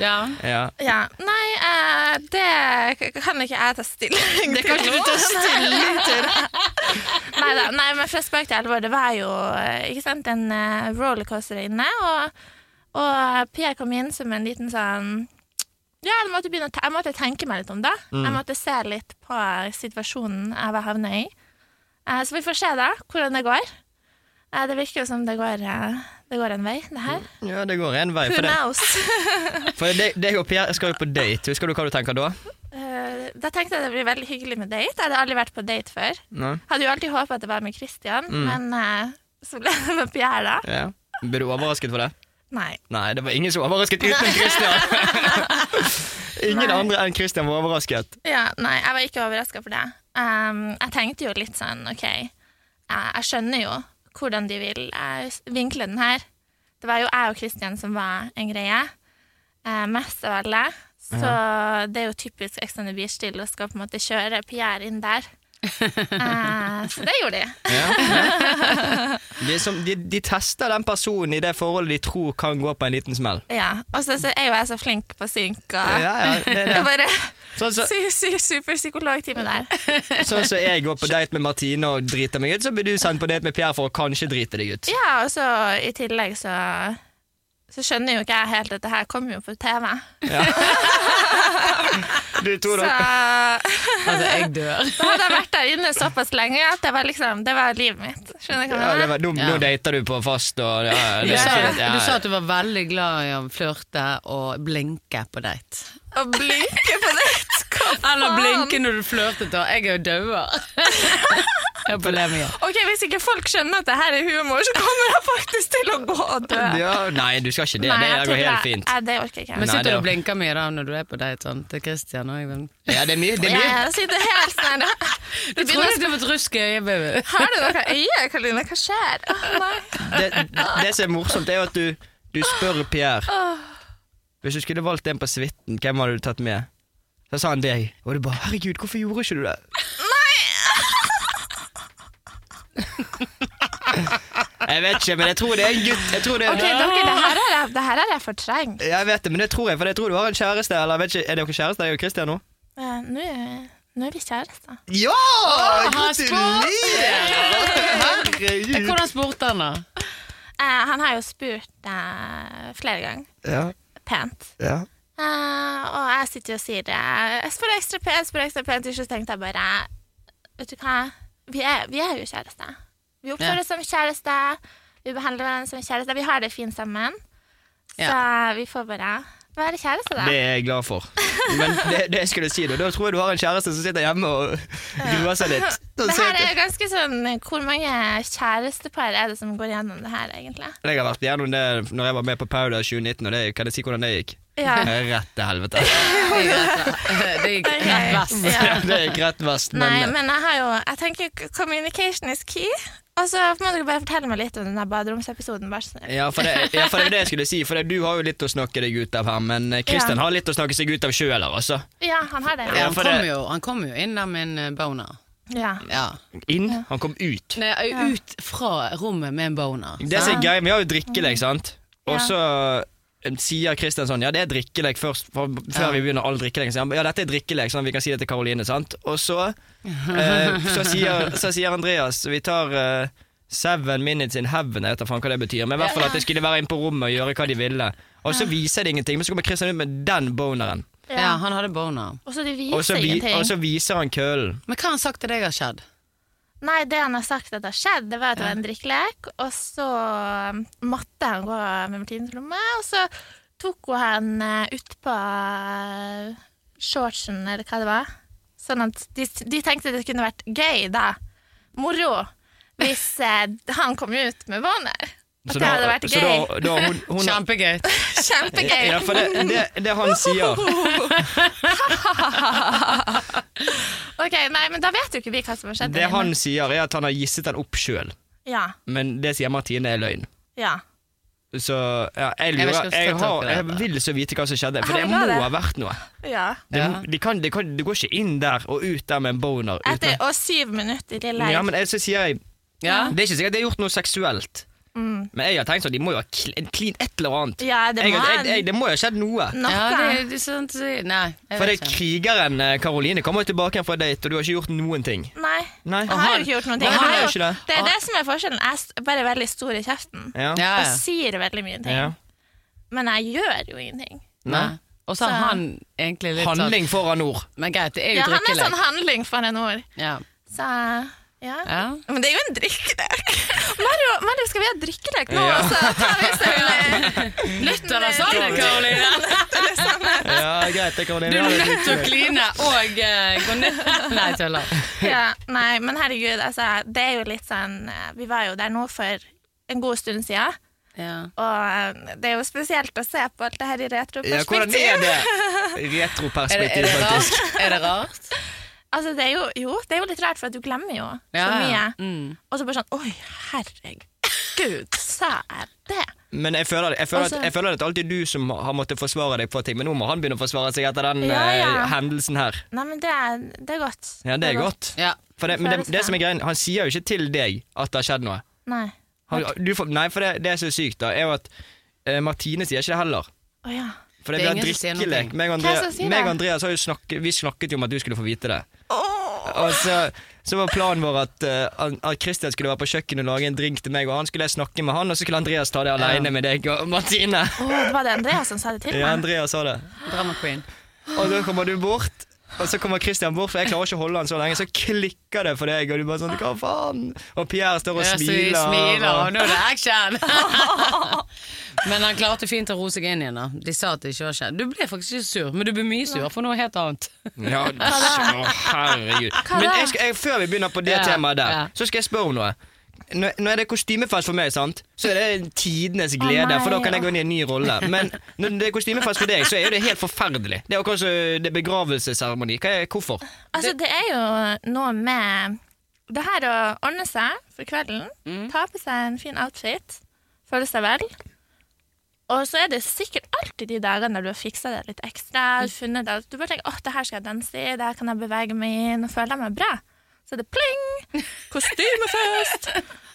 Speaker 2: Ja.
Speaker 3: ja.
Speaker 4: Ja. Nei, eh, det k- kan ikke jeg ta stilling
Speaker 2: Det kan ikke du ta
Speaker 4: stilling til. Nei da. Nei, men fra spøk til alvor, det var jo eh, ikke sant, en eh, rollercoaster inne, og, og Pierre kom inn som en liten sånn ja, jeg måtte, begynne å te jeg måtte tenke meg litt om det.
Speaker 2: Mm.
Speaker 4: Jeg måtte se litt på situasjonen jeg var havna i. Eh, så vi får se da, hvordan det går. Eh, det virker jo som det går, eh, det går en vei, det
Speaker 2: Mm.
Speaker 4: her.
Speaker 3: ja, det går én vei.
Speaker 4: Who
Speaker 3: For, det,
Speaker 4: knows?
Speaker 3: for det, deg og Pierre skal jo på date. Husker du hva du tenker da?
Speaker 4: Eh, da tenkte jeg det blir veldig hyggelig med date. Jeg hadde aldri vært på date før.
Speaker 3: Nei.
Speaker 4: Hadde jo alltid håpet at det var med Christian, men eh, så ble det med Pierre, da.
Speaker 3: Ja. Ble du overrasket for det?
Speaker 4: Nei.
Speaker 3: Nei, det var ingen som var overrasket utenom Christian. ingen
Speaker 4: Nei.
Speaker 3: andre enn Christian var overrasket.
Speaker 4: Ja, nei, jeg var ikke overraska for det. Um, jeg tenkte jo litt sånn, OK, jeg, jeg skjønner jo hvordan de vil eh, s- vinkle den her. Det var jo jeg og Christian som var en greie. eh, mest av alle. Så det er jo typisk Ex on the Beach-stil å skal på en måte kjøre Pierre inn der. Eh, så det gjorde de.
Speaker 3: De, som, de, de tester den personen i det forholdet de tror kan gå på en liten smell.
Speaker 4: Ja. Og så så er jo jeg så flink på synk. Og
Speaker 3: Ja, ja, det er
Speaker 4: det er
Speaker 3: det.
Speaker 4: bare
Speaker 3: Sånn som
Speaker 4: sy, sy, super psykologtime der.
Speaker 3: sånn som jeg går på date med Martine og driter meg ut, så blir du sendt på date med Pierre for å kanskje drite deg ut.
Speaker 4: Ja, og så i tillegg så så skjønner jo ikke jeg helt at det her kommer jo på TV.
Speaker 3: Du
Speaker 4: Så
Speaker 3: tror
Speaker 4: da
Speaker 3: da
Speaker 2: Altså, jeg dør.
Speaker 4: hadde jeg vært der inne såpass lenge at det var liksom, det var livet mitt. Skjønner du hva
Speaker 3: ja,
Speaker 4: jeg
Speaker 3: det
Speaker 4: mener?
Speaker 3: var, nå, nå
Speaker 2: Ja.
Speaker 3: dater du på fast og ja, ja,
Speaker 2: Du
Speaker 3: det er
Speaker 2: sa,
Speaker 3: fint, ja.
Speaker 2: du sa at du var veldig glad i å flørte og blinke på date.
Speaker 4: Å blinke på nett! Hva
Speaker 2: Eller
Speaker 4: faen?
Speaker 2: blinke når du flørtet, da. Jeg er jo dauer. Jeg er på det mye.
Speaker 4: Ok, Hvis ikke folk skjønner at det her er humor, så kommer jeg faktisk til å gå og dø.
Speaker 3: ja, Nei, du skal ikke det.
Speaker 4: Nei,
Speaker 3: det
Speaker 4: jeg
Speaker 3: går
Speaker 4: tror
Speaker 3: helt
Speaker 4: det-
Speaker 3: fint.
Speaker 4: Nei, det orker ikke jeg.
Speaker 2: Men
Speaker 3: Nei, det
Speaker 2: sitter
Speaker 3: er-
Speaker 2: du og blinker mye da når du er på date sånn, til Christian og jeg?
Speaker 3: Ja, det er mye. Det er mye.
Speaker 4: Jeg sitter helt sånn her.
Speaker 2: Du tror jeg skulle fått rusk i øyet, baby.
Speaker 4: Har du noe øye, Karoline? Hva skjer? Å, nei.
Speaker 3: det, det som er morsomt, er jo at du, du spør Pierre Hvis du skulle valgt en på suiten, hvem hadde du tatt med? Så sa han deg. Og du bare 'herregud, hvorfor gjorde ikke du det?' Nei! jeg vet ikke, men jeg tror det er en gutt. Jeg tror det er
Speaker 4: Ok, dere, det her har jeg, det her har jeg fortrengt.
Speaker 3: Jeg vet det, men det tror jeg, for jeg tror du har en kjæreste. Eller jeg vet ikke, Er dere kjærester, jeg og Christian nå?
Speaker 4: Eh, Nå er- nå er vi kjærester.
Speaker 3: Ja!
Speaker 2: han spurte!
Speaker 3: Herregud.
Speaker 2: Hvordan spurte han, da?
Speaker 4: Eh, han har jo spurt eh, flere ganger,
Speaker 3: Ja,
Speaker 4: pent.
Speaker 3: ja.
Speaker 4: Eh, og jeg sitter jo og sier det. Jeg spør ekstra pent, jeg spør ekstra pent. Til slutt tenkte jeg bare Vet du hva, vi er, vi er jo kjærester. Vi
Speaker 2: Ja.
Speaker 4: oppfører oss som kjærester. Vi behandler hverandre som kjærester. Vi har det fint sammen. Så vi får bare være kjærester, da.
Speaker 3: Det er jeg glad for. Men det, det jeg skulle si, da, da tror jeg du har en kjæreste som sitter hjemme og gruer seg litt. Så
Speaker 4: Det her
Speaker 3: sitter-
Speaker 4: er jo ganske sånn Hvor mange kjærestepar er det som går gjennom det her, egentlig?
Speaker 3: Jeg har vært gjennom det når jeg var med på Powder 2019, og det, kan jeg si hvordan det gikk?
Speaker 4: Ja.
Speaker 3: Rett til helvete.
Speaker 2: Det gikk rett, det gikk rett vest.
Speaker 4: Ja.
Speaker 3: det gikk rett vest, men eh,
Speaker 4: Nei, men jeg har jo Jeg tenker communication is key. Og så må dere bare fortelle meg litt om den der baderomsepisoden, vær så snill.
Speaker 3: ja for, det, ja, for det er det jeg skulle si, for det, du har jo litt å snakke deg ut av her, men eh, Christian
Speaker 4: Ja.
Speaker 3: har litt å snakke seg ut av sjøl her, altså.
Speaker 4: Ja, han har det.
Speaker 3: Ja,
Speaker 2: Han
Speaker 3: for
Speaker 2: kom
Speaker 3: det-
Speaker 2: jo, han kom jo inn der med en eh, boner.
Speaker 4: Ja.
Speaker 2: Ja.
Speaker 3: Inn, han kom ut.
Speaker 2: Nei, ut fra rommet med en boner.
Speaker 3: Det som er gøy, vi har jo
Speaker 4: Mm.
Speaker 3: drikkelek, sant? Og så eh, sier Kristian sånn Ja, det er drikkelek først, for,
Speaker 2: Ja.
Speaker 3: før vi begynner all drikkelek. Så han, ja, dette er drikkelek, sånn at vi kan si det til Karoline, sant? Og så, eh, så, sier, så sier Andreas Vi tar eh, Seven minutes in heaven, jeg vet da faen hva det betyr. Men i hvert fall at de skulle være inne på rommet og gjøre hva de ville. Og så viser det ingenting, men så kommer Kristian ut med den boneren.
Speaker 2: Ja, han hadde boner.
Speaker 4: Og så de
Speaker 3: Og så,
Speaker 4: viser
Speaker 3: vi, og så
Speaker 4: ingenting.
Speaker 3: viser han køllen.
Speaker 2: Men hva har han sagt til deg har skjedd?
Speaker 4: Nei, det han har sagt at det har skjedd, det var at det var en drikkelek, og så um, måtte han gå med Martines lomme, og så tok hun han eh, ut på eh, shortsen, eller hva det var. Sånn at de, de tenkte det kunne vært gøy, da. Moro. Hvis eh, han kom ut med boner. At det hadde vært
Speaker 3: så
Speaker 4: gøy.
Speaker 3: da, da hun, hun,
Speaker 2: Kjempegøy.
Speaker 4: Kjempegøy.
Speaker 3: Ja, for det, det, det han sier
Speaker 4: Ok, nei, men da vet jo ikke vi hva som har skjedd.
Speaker 3: Det han sier er at han har gisset den opp sjøl,
Speaker 4: Ja,
Speaker 3: men det sier Martine er løgn.
Speaker 4: ja.
Speaker 3: Så ja, jeg
Speaker 2: Jeg vet ikke om
Speaker 3: lurer jeg,
Speaker 2: jeg skal ta
Speaker 3: har,
Speaker 2: tak i
Speaker 3: jeg
Speaker 2: det.
Speaker 3: vil så vite hva som skjedde, for
Speaker 4: Har
Speaker 3: det
Speaker 4: du
Speaker 3: må
Speaker 4: det?
Speaker 3: ha vært noe.
Speaker 4: ja.
Speaker 3: Det,
Speaker 2: Ja.
Speaker 3: de kan, de kan, du går ikke inn der og ut der med en boner. uten
Speaker 4: Etter,
Speaker 3: at-
Speaker 4: og syv minutter i leir.
Speaker 3: ja, men jeg, så sier jeg
Speaker 2: Ja.
Speaker 3: Det er ikke sikkert de har gjort noe seksuelt,
Speaker 2: Mm.
Speaker 3: men jeg har tenkt sånn de må jo ha kl- clean et eller annet.
Speaker 4: Ja, det
Speaker 3: jeg,
Speaker 4: må
Speaker 3: jeg, jeg,
Speaker 4: han.
Speaker 3: det må jo ha skjedd noe.
Speaker 4: Noe.
Speaker 2: Ja, det, det er sant. Nei, jeg
Speaker 3: For det
Speaker 2: vet
Speaker 3: er
Speaker 2: ikke.
Speaker 3: krigeren eh, Karoline kommer jo tilbake igjen fra date, og du har ikke gjort noen ting.
Speaker 4: Nei.
Speaker 3: Nei.
Speaker 4: Jeg har jo ikke gjort noen ting.
Speaker 3: Nei,
Speaker 4: Jeg
Speaker 3: han
Speaker 4: har
Speaker 3: har
Speaker 4: jo,
Speaker 3: ikke det.
Speaker 4: det er det som er forskjellen. Jeg er s- bare veldig stor i kjeften
Speaker 3: Ja.
Speaker 2: Ja,
Speaker 4: og
Speaker 2: ja.
Speaker 4: sier veldig mye ting.
Speaker 3: Ja.
Speaker 4: Men jeg gjør jo ingenting.
Speaker 2: Nei. Og så har han egentlig litt sånn
Speaker 3: Handling foran ord.
Speaker 2: Men greit, det er jo
Speaker 4: Ja, han er sånn
Speaker 2: drikkelek.
Speaker 4: handling for en ord.
Speaker 2: Ja.
Speaker 4: Så ja.
Speaker 2: Ja.
Speaker 4: Men det er jo en drikkelek. Mario, Mario, skal vi ha drikkelek nå? Altså,
Speaker 3: Ja.
Speaker 4: Og Så tar vi oss en
Speaker 2: Lytter deg
Speaker 3: sånn,
Speaker 2: sammen, Karoline!
Speaker 3: Ja, greit, det, Karoline.
Speaker 2: Du
Speaker 3: Ja,
Speaker 2: er
Speaker 3: det-
Speaker 2: nødt til å kline og eh, gå ned Nei, jeg tuller.
Speaker 4: ja, Nei, men herregud, altså, det er jo litt sånn eh, Vi var jo der nå for en god stund siden,
Speaker 2: Ja.
Speaker 4: og eh, det er jo spesielt å se på alt det her i
Speaker 3: Ja, hvordan
Speaker 4: retroperspektiv.
Speaker 3: er det?
Speaker 2: Er det,
Speaker 3: Retroperspektiv,
Speaker 2: er det
Speaker 3: faktisk.
Speaker 2: rart? Er det rart?
Speaker 4: Altså, det er jo, jo, det er jo litt rart, for at du glemmer jo
Speaker 2: Ja,
Speaker 4: så mye.
Speaker 2: ja. Mm.
Speaker 4: Og så bare sånn Oi, herregud. Gud, sa jeg det?
Speaker 3: Men jeg føler, jeg, føler
Speaker 4: Altså-
Speaker 3: at, jeg føler at det er alltid du som har måttet forsvare deg for ting, men nå må han begynne å forsvare seg etter den
Speaker 4: Ja, ja.
Speaker 3: eh, hendelsen her.
Speaker 4: Nei, men det er, det er godt.
Speaker 3: Ja, det er godt.
Speaker 2: Ja.
Speaker 3: For det, men det, det som er greien, han sier jo ikke til deg at det har skjedd noe.
Speaker 4: Nei.
Speaker 3: Han, du, får- nei, for det, det som er sykt, da, er jo at eh, Martine sier ikke det heller.
Speaker 4: Å ja.
Speaker 3: For det,
Speaker 2: Det er
Speaker 3: blir
Speaker 2: ingen som sier noe.
Speaker 3: drikkelek. Meg og
Speaker 4: Hvem
Speaker 3: Andrea-
Speaker 4: som sier
Speaker 3: meg
Speaker 4: det?
Speaker 3: og Andreas har jo snakket, vi snakket jo om at du skulle få vite det.
Speaker 4: Åh.
Speaker 3: Og så, så var planen vår at, eh, at Christian skulle være på kjøkkenet og lage en drink til meg, og han skulle jeg snakke med han, og så skulle Andreas ta det alene med deg og Martine.
Speaker 4: Åh, var det Andreas som sa det til
Speaker 3: Ja,
Speaker 4: meg?
Speaker 3: Andreas sa det.
Speaker 2: Drama queen.
Speaker 3: Og da kommer du bort, og så kommer Christian bort, for jeg klarer ikke å holde han så lenge, så klikker det for deg, og du bare sånn, hva faen? Og Pierre står og
Speaker 2: Ja, så
Speaker 3: smiler.
Speaker 2: vi smiler,
Speaker 3: og-
Speaker 2: og nå er det action! men han klarte fint å roe seg inn igjen. da De sa at det ikke var skjedd. Du ble faktisk ikke sur, men du ble mye sur for noe helt annet.
Speaker 3: Ja, å, herregud.
Speaker 4: da?
Speaker 3: Men jeg skal, jeg, før vi begynner på det
Speaker 2: Ja,
Speaker 3: temaet der,
Speaker 2: ja.
Speaker 3: så skal jeg spørre om noe. Når, når det er kostymefest for meg, sant? så er det tidenes glede,
Speaker 4: nei,
Speaker 3: for da kan jeg
Speaker 4: åh.
Speaker 3: gå inn i en ny rolle. Men når det er kostymefest for deg, så er jo det helt forferdelig. Det er akkurat som det er begravelsesseremoni. Hva er- Hvorfor?
Speaker 4: Altså, det er jo noe med det her å ordne seg for kvelden, ta på seg en fin outfit, føle seg vel. Og så er det sikkert alltid de dagene der du har fiksa det litt ekstra. funnet det. Du bare tenker 'Å, det her skal jeg danse i, det her kan jeg bevege meg i, nå føler jeg meg bra'. Så er det pling! Kostymefest!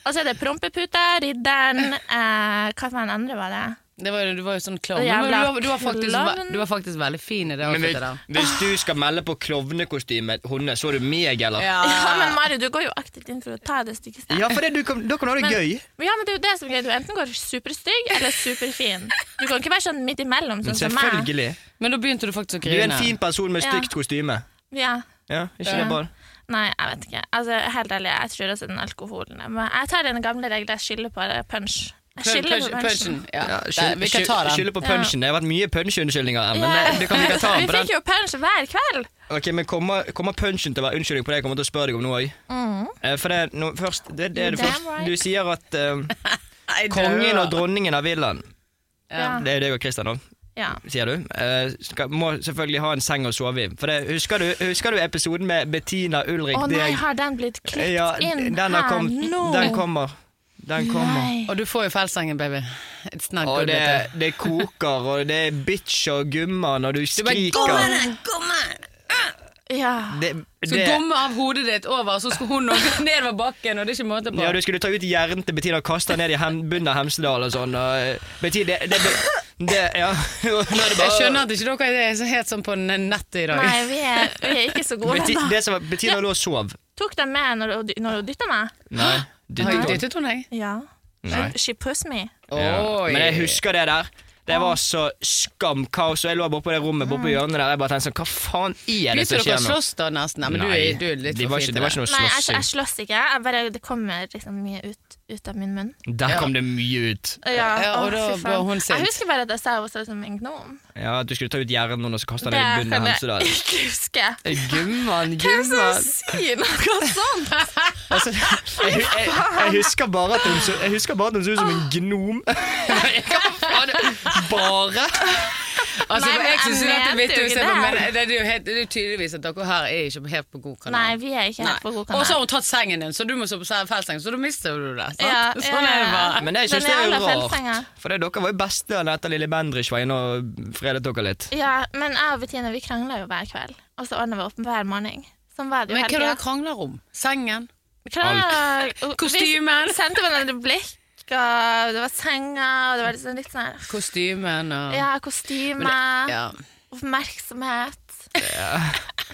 Speaker 4: Og så er det prompeputa, ridderen eh, Hva for en andre var det?
Speaker 2: Det var, jo- du var jo sånn klovn.
Speaker 4: Og
Speaker 2: Men
Speaker 4: jævla
Speaker 2: du, var- du, var faktisk,
Speaker 4: klovn.
Speaker 2: ve- du var faktisk veldig fin i det
Speaker 3: Men hvis,
Speaker 2: outfitet der.
Speaker 3: hvis du skal melde på klovnekostymet, Honne, så er du meg, eller?
Speaker 4: Ja, men Mario, du går jo aktivt inn for å ta det styggeste.
Speaker 3: Ja, for det, du kan, da kan du ha det gøy.
Speaker 4: Men ja, men det er jo det som er greit. Du enten går superstygg eller superfin. Du kan ikke være sånn midt imellom, sånn som meg.
Speaker 3: Selvfølgelig.
Speaker 2: Men da begynte du faktisk å
Speaker 3: Du er en
Speaker 2: grine.
Speaker 3: fin person med
Speaker 4: Ja.
Speaker 3: stygt kostyme.
Speaker 4: Ja.
Speaker 3: Ja, ikke det bare?
Speaker 4: Nei, jeg vet ikke. Altså, helt ærlig, jeg tror også den alkoholen er med. Jeg tar den gamle regla, jeg skylder på det, punch. Jeg
Speaker 2: Punch-
Speaker 4: skylder på
Speaker 2: punch-
Speaker 4: punchen.
Speaker 2: punchen, Ja.
Speaker 3: Ja,
Speaker 2: Der, vi kan
Speaker 3: skyld-
Speaker 2: ta
Speaker 3: skyld-
Speaker 2: den.
Speaker 3: skylder på punchen. Det har vært mye punch-unnskyldninger. her, Men
Speaker 4: Ja.
Speaker 3: det, det kan vi kan ta den
Speaker 4: Vi
Speaker 3: på den.
Speaker 4: fikk jo punch hver kveld.
Speaker 3: Ok, men Kommer, kommer punchen til å være unnskyldning på det jeg kommer til å spørre deg om nå òg? For det, er no, først, det, det er det
Speaker 4: Damn
Speaker 3: først.
Speaker 4: right.
Speaker 3: Du sier at eh,
Speaker 2: Nei, det-
Speaker 3: kongen og dronningen av villaen
Speaker 2: Ja.
Speaker 4: Ja.
Speaker 3: Det er jo deg og Christian òg,
Speaker 4: ja.
Speaker 3: sier du. eh, skal, må selvfølgelig ha en seng å sove i. For det, husker, du, husker du episoden med Bettina Ulrik?
Speaker 4: Å nei,
Speaker 3: deg?
Speaker 4: har den blitt klippet
Speaker 3: ja,
Speaker 4: inn
Speaker 3: den har
Speaker 4: her
Speaker 3: kommet-
Speaker 4: nå?
Speaker 3: Den kommer. Den kommer.
Speaker 4: Nei.
Speaker 2: Og du får jo feilsengen, baby. It's not
Speaker 3: Og
Speaker 2: good.
Speaker 3: det,
Speaker 2: vet
Speaker 3: det koker, og det er bitch og gumma når du
Speaker 2: du. Bare
Speaker 3: skriker.
Speaker 2: gomme den, gomme den!
Speaker 4: Ja.
Speaker 3: det,
Speaker 2: Skal
Speaker 3: det-
Speaker 2: gomme av hodet ditt over, så skal hun nå gå nedover bakken, og det er ikke måte på.
Speaker 3: Ja, du skulle ta ut hjernen til Bettina og kaste den ned i hem, bunnen av Hemsedal og sånn. Og, eh, Bettina, det, det, det, det Ja. Nå er det bare-
Speaker 2: Jeg skjønner at ikke dere er så helt sånn på n- nettet i dag.
Speaker 4: Nei, vi er, vi er ikke så gode
Speaker 3: Beti,
Speaker 4: ennå.
Speaker 3: det som var, Bettina lå og sov.
Speaker 4: Tok den med når hun dy- når hun dytta meg?
Speaker 3: Nei. Du,
Speaker 2: Har jeg dyttet henne, jeg?
Speaker 4: Ja.
Speaker 3: Nei.
Speaker 4: She pushed me.
Speaker 3: Ja.
Speaker 2: Oi.
Speaker 3: Men jeg husker det der. Det var så skamkaos, og jeg lå bortpå det rommet bortpå hjørnet der. Jeg bare tenkte sånn, hva faen er det
Speaker 2: Begynte
Speaker 3: som
Speaker 2: dere
Speaker 3: skjer
Speaker 2: å
Speaker 3: nå?
Speaker 2: slåss da, nesten? Nei, men du,
Speaker 3: Nei,
Speaker 2: er- du er litt
Speaker 3: det
Speaker 2: for
Speaker 3: var
Speaker 2: fin
Speaker 3: ikke,
Speaker 2: til
Speaker 3: det var ikke noe
Speaker 4: Nei, jeg, jeg
Speaker 3: slåssing.
Speaker 4: slåss ikke. Jeg bare, det kommer liksom mye ut, ut av min munn.
Speaker 3: Der kom det mye ut.
Speaker 2: Ja, og
Speaker 4: å,
Speaker 2: da
Speaker 4: fy faen.
Speaker 2: ble hun sint.
Speaker 4: Jeg husker bare at jeg sa hun så ut som en gnom.
Speaker 3: Ja, At du skulle ta ut hjernen og så kaste den
Speaker 4: Det
Speaker 3: i
Speaker 4: kan
Speaker 3: bunnen av Hemsedal.
Speaker 4: jeg ikke huske.
Speaker 3: Gumman,
Speaker 4: Hvem som
Speaker 3: gumman.
Speaker 4: sier noe sånt?
Speaker 3: Altså, jeg, jeg, jeg husker bare at hun så jeg husker bare at hun så ut som en gnom. Jeg kan faen Bare?
Speaker 2: Altså,
Speaker 4: Nei,
Speaker 2: for
Speaker 4: men
Speaker 2: jeg
Speaker 4: jeg
Speaker 2: synes jo dette er
Speaker 4: mente
Speaker 2: vittig
Speaker 4: jo
Speaker 2: å se
Speaker 4: ikke
Speaker 2: på,
Speaker 4: det.
Speaker 2: men det er jo helt, det er jo tydeligvis at dere her er ikke på- helt på god kanal.
Speaker 4: Nei, vi er ikke
Speaker 2: Nei.
Speaker 4: helt på god
Speaker 2: Og så har
Speaker 4: kanal.
Speaker 2: hun tatt sengen din, så du må sove på feltseng, så da mister du det. Sant?
Speaker 4: Ja, ja,
Speaker 2: Sånn er det bare.
Speaker 3: Men jeg syns
Speaker 4: Den
Speaker 3: det er jo
Speaker 4: jævla fjellsenga.
Speaker 3: rart. For det, dere var jo beste da etter Lille Bendriss var inne og fredet dere litt.
Speaker 4: Ja, men jeg og Bettina vi krangla jo hver kveld, og så ordna vi opp hver morgen. Sånn var det jo
Speaker 2: Men hva er det
Speaker 4: hele
Speaker 2: dere
Speaker 4: tida.
Speaker 2: krangler om? Sengen?
Speaker 4: Krangla-
Speaker 2: Kostymen.
Speaker 4: Vi sendte hverandre blikk, og det var senga, og det var liksom litt sånn her
Speaker 2: Kostymen og
Speaker 4: Ja, kostyme,
Speaker 2: Ja.
Speaker 4: oppmerksomhet.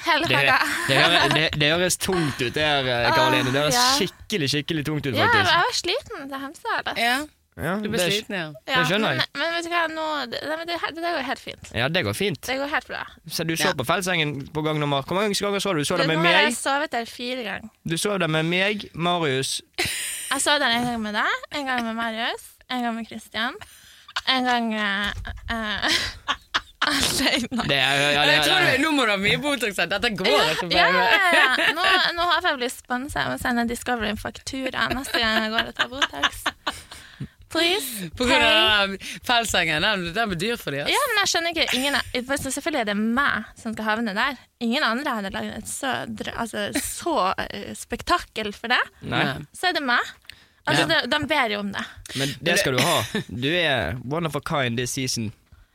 Speaker 4: Hele
Speaker 3: Det,
Speaker 4: pakka.
Speaker 3: det, hører- det, det høres tungt ut der, Karoline. Det høres
Speaker 4: Ja.
Speaker 3: skikkelig skikkelig tungt ut,
Speaker 4: Ja, jeg
Speaker 3: faktisk.
Speaker 4: var sliten til Hemsedal.
Speaker 2: ja.
Speaker 3: Ja,
Speaker 2: Du blir
Speaker 3: det,
Speaker 2: sliten, ja.
Speaker 3: det skjønner jeg.
Speaker 4: Men, men vet du hva, nå, det, nei, men det, det, det går helt fint.
Speaker 3: Ja, det går fint.
Speaker 4: Det går helt bra.
Speaker 3: Så du så
Speaker 2: Ja.
Speaker 3: på Feldsengen på gang nummer Hvor mange ganger så du? Du så det
Speaker 4: nå
Speaker 3: med
Speaker 4: har
Speaker 3: meg,
Speaker 4: jeg sovet der fire ganger.
Speaker 3: du så det med meg, Marius
Speaker 4: Jeg sov der en gang med deg, en gang med Marius, en gang med Christian. En gang eh, eh, alene.
Speaker 3: det, er- ja, det,
Speaker 2: Jeg tror
Speaker 3: er-
Speaker 2: du, nå må du ha mye Botox. her. Dette går
Speaker 4: Ja,
Speaker 2: ikke.
Speaker 4: ja,
Speaker 2: baby.
Speaker 4: ja, ja. Nå, nå har jeg blitt sponsa. Jeg må sende Discovery en faktura neste gang jeg går og tar Botox. Please.
Speaker 2: På grunn av den der feltsengen. Den, den blir dyr for altså. dem.
Speaker 4: Ja, men jeg skjønner ikke ingen, for Selvfølgelig er det meg som skal havne der. Ingen andre hadde lagd et så, dr- altså, så eh, spektakel for det.
Speaker 3: Nei.
Speaker 4: Så er det meg. Altså,
Speaker 2: Ja.
Speaker 4: de, de ber jo om det.
Speaker 3: Men det skal du ha. Du er one of a kind this season.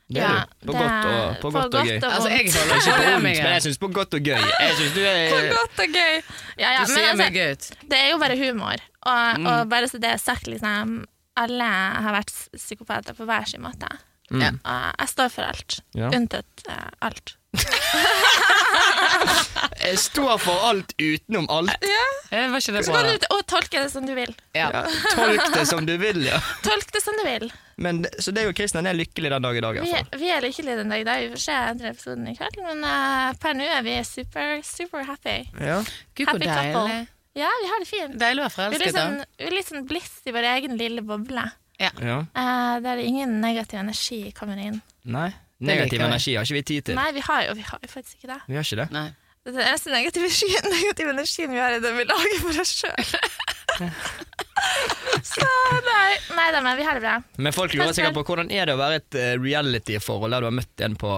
Speaker 3: Det er
Speaker 4: Ja,
Speaker 3: du. På godt og,
Speaker 4: det-
Speaker 3: på godt og gøy.
Speaker 4: sånn. vondt.
Speaker 2: Altså, jeg holder
Speaker 3: Ikke
Speaker 2: ikke på
Speaker 3: på vondt,
Speaker 2: meg.
Speaker 3: men jeg syns på godt og gøy. Jeg synes du
Speaker 4: På
Speaker 3: er
Speaker 4: godt og gøy. Ja, ja,
Speaker 2: Du
Speaker 4: men
Speaker 2: ser
Speaker 4: altså,
Speaker 2: meg ut.
Speaker 4: det er jo bare humor. Og,
Speaker 3: Mm.
Speaker 4: og bare så det er sagt, liksom Alle har vært s- psykopater på hver sin måte.
Speaker 2: Ja.
Speaker 4: Og jeg står for alt.
Speaker 3: Mm. Ja.
Speaker 4: Unntatt eh, alt.
Speaker 3: Jeg står for alt utenom alt.
Speaker 2: Eh, Var ikke det
Speaker 4: Så
Speaker 2: bra?
Speaker 4: kan
Speaker 2: da?
Speaker 4: du og tolke det som du vil.
Speaker 2: Ja.
Speaker 3: Tolk det som du vil, ja.
Speaker 4: Tolk det som du vil.
Speaker 3: Men, så deg og Kristian er lykkelig den dag i dag, i
Speaker 4: Vi,
Speaker 3: hvert fall.
Speaker 2: altså.
Speaker 4: vi er lykkelige den dag i dag. Vi får se andre episoden i kveld, men eh, per nå er vi super, super happy.
Speaker 3: Ja.
Speaker 2: Gud, hvor
Speaker 4: Happy couple.
Speaker 2: deilig.
Speaker 4: Ja, vi har det fint.
Speaker 2: Deilig å være
Speaker 4: Vi er
Speaker 2: forelsket,
Speaker 4: litt sånn,
Speaker 2: da.
Speaker 4: vi er litt sånn bliss i vår egen lille boble.
Speaker 3: ja.
Speaker 4: Eh, der ingen negativ energi kommer inn.
Speaker 3: Nei.
Speaker 2: liker
Speaker 3: Negativ
Speaker 2: jeg.
Speaker 3: energi har ikke vi tid til.
Speaker 4: Nei, vi har jo vi har jo faktisk ikke det.
Speaker 3: Vi har ikke det.
Speaker 2: Nei.
Speaker 4: Den eneste negative, sky- negative energien vi har, er den vi lager for oss sjøl. Så nei, nei da, men vi har det bra.
Speaker 3: Men folk lurer
Speaker 4: Men-
Speaker 3: sikkert på hvordan er det å være et eh, reality-forhold der du har møtt en på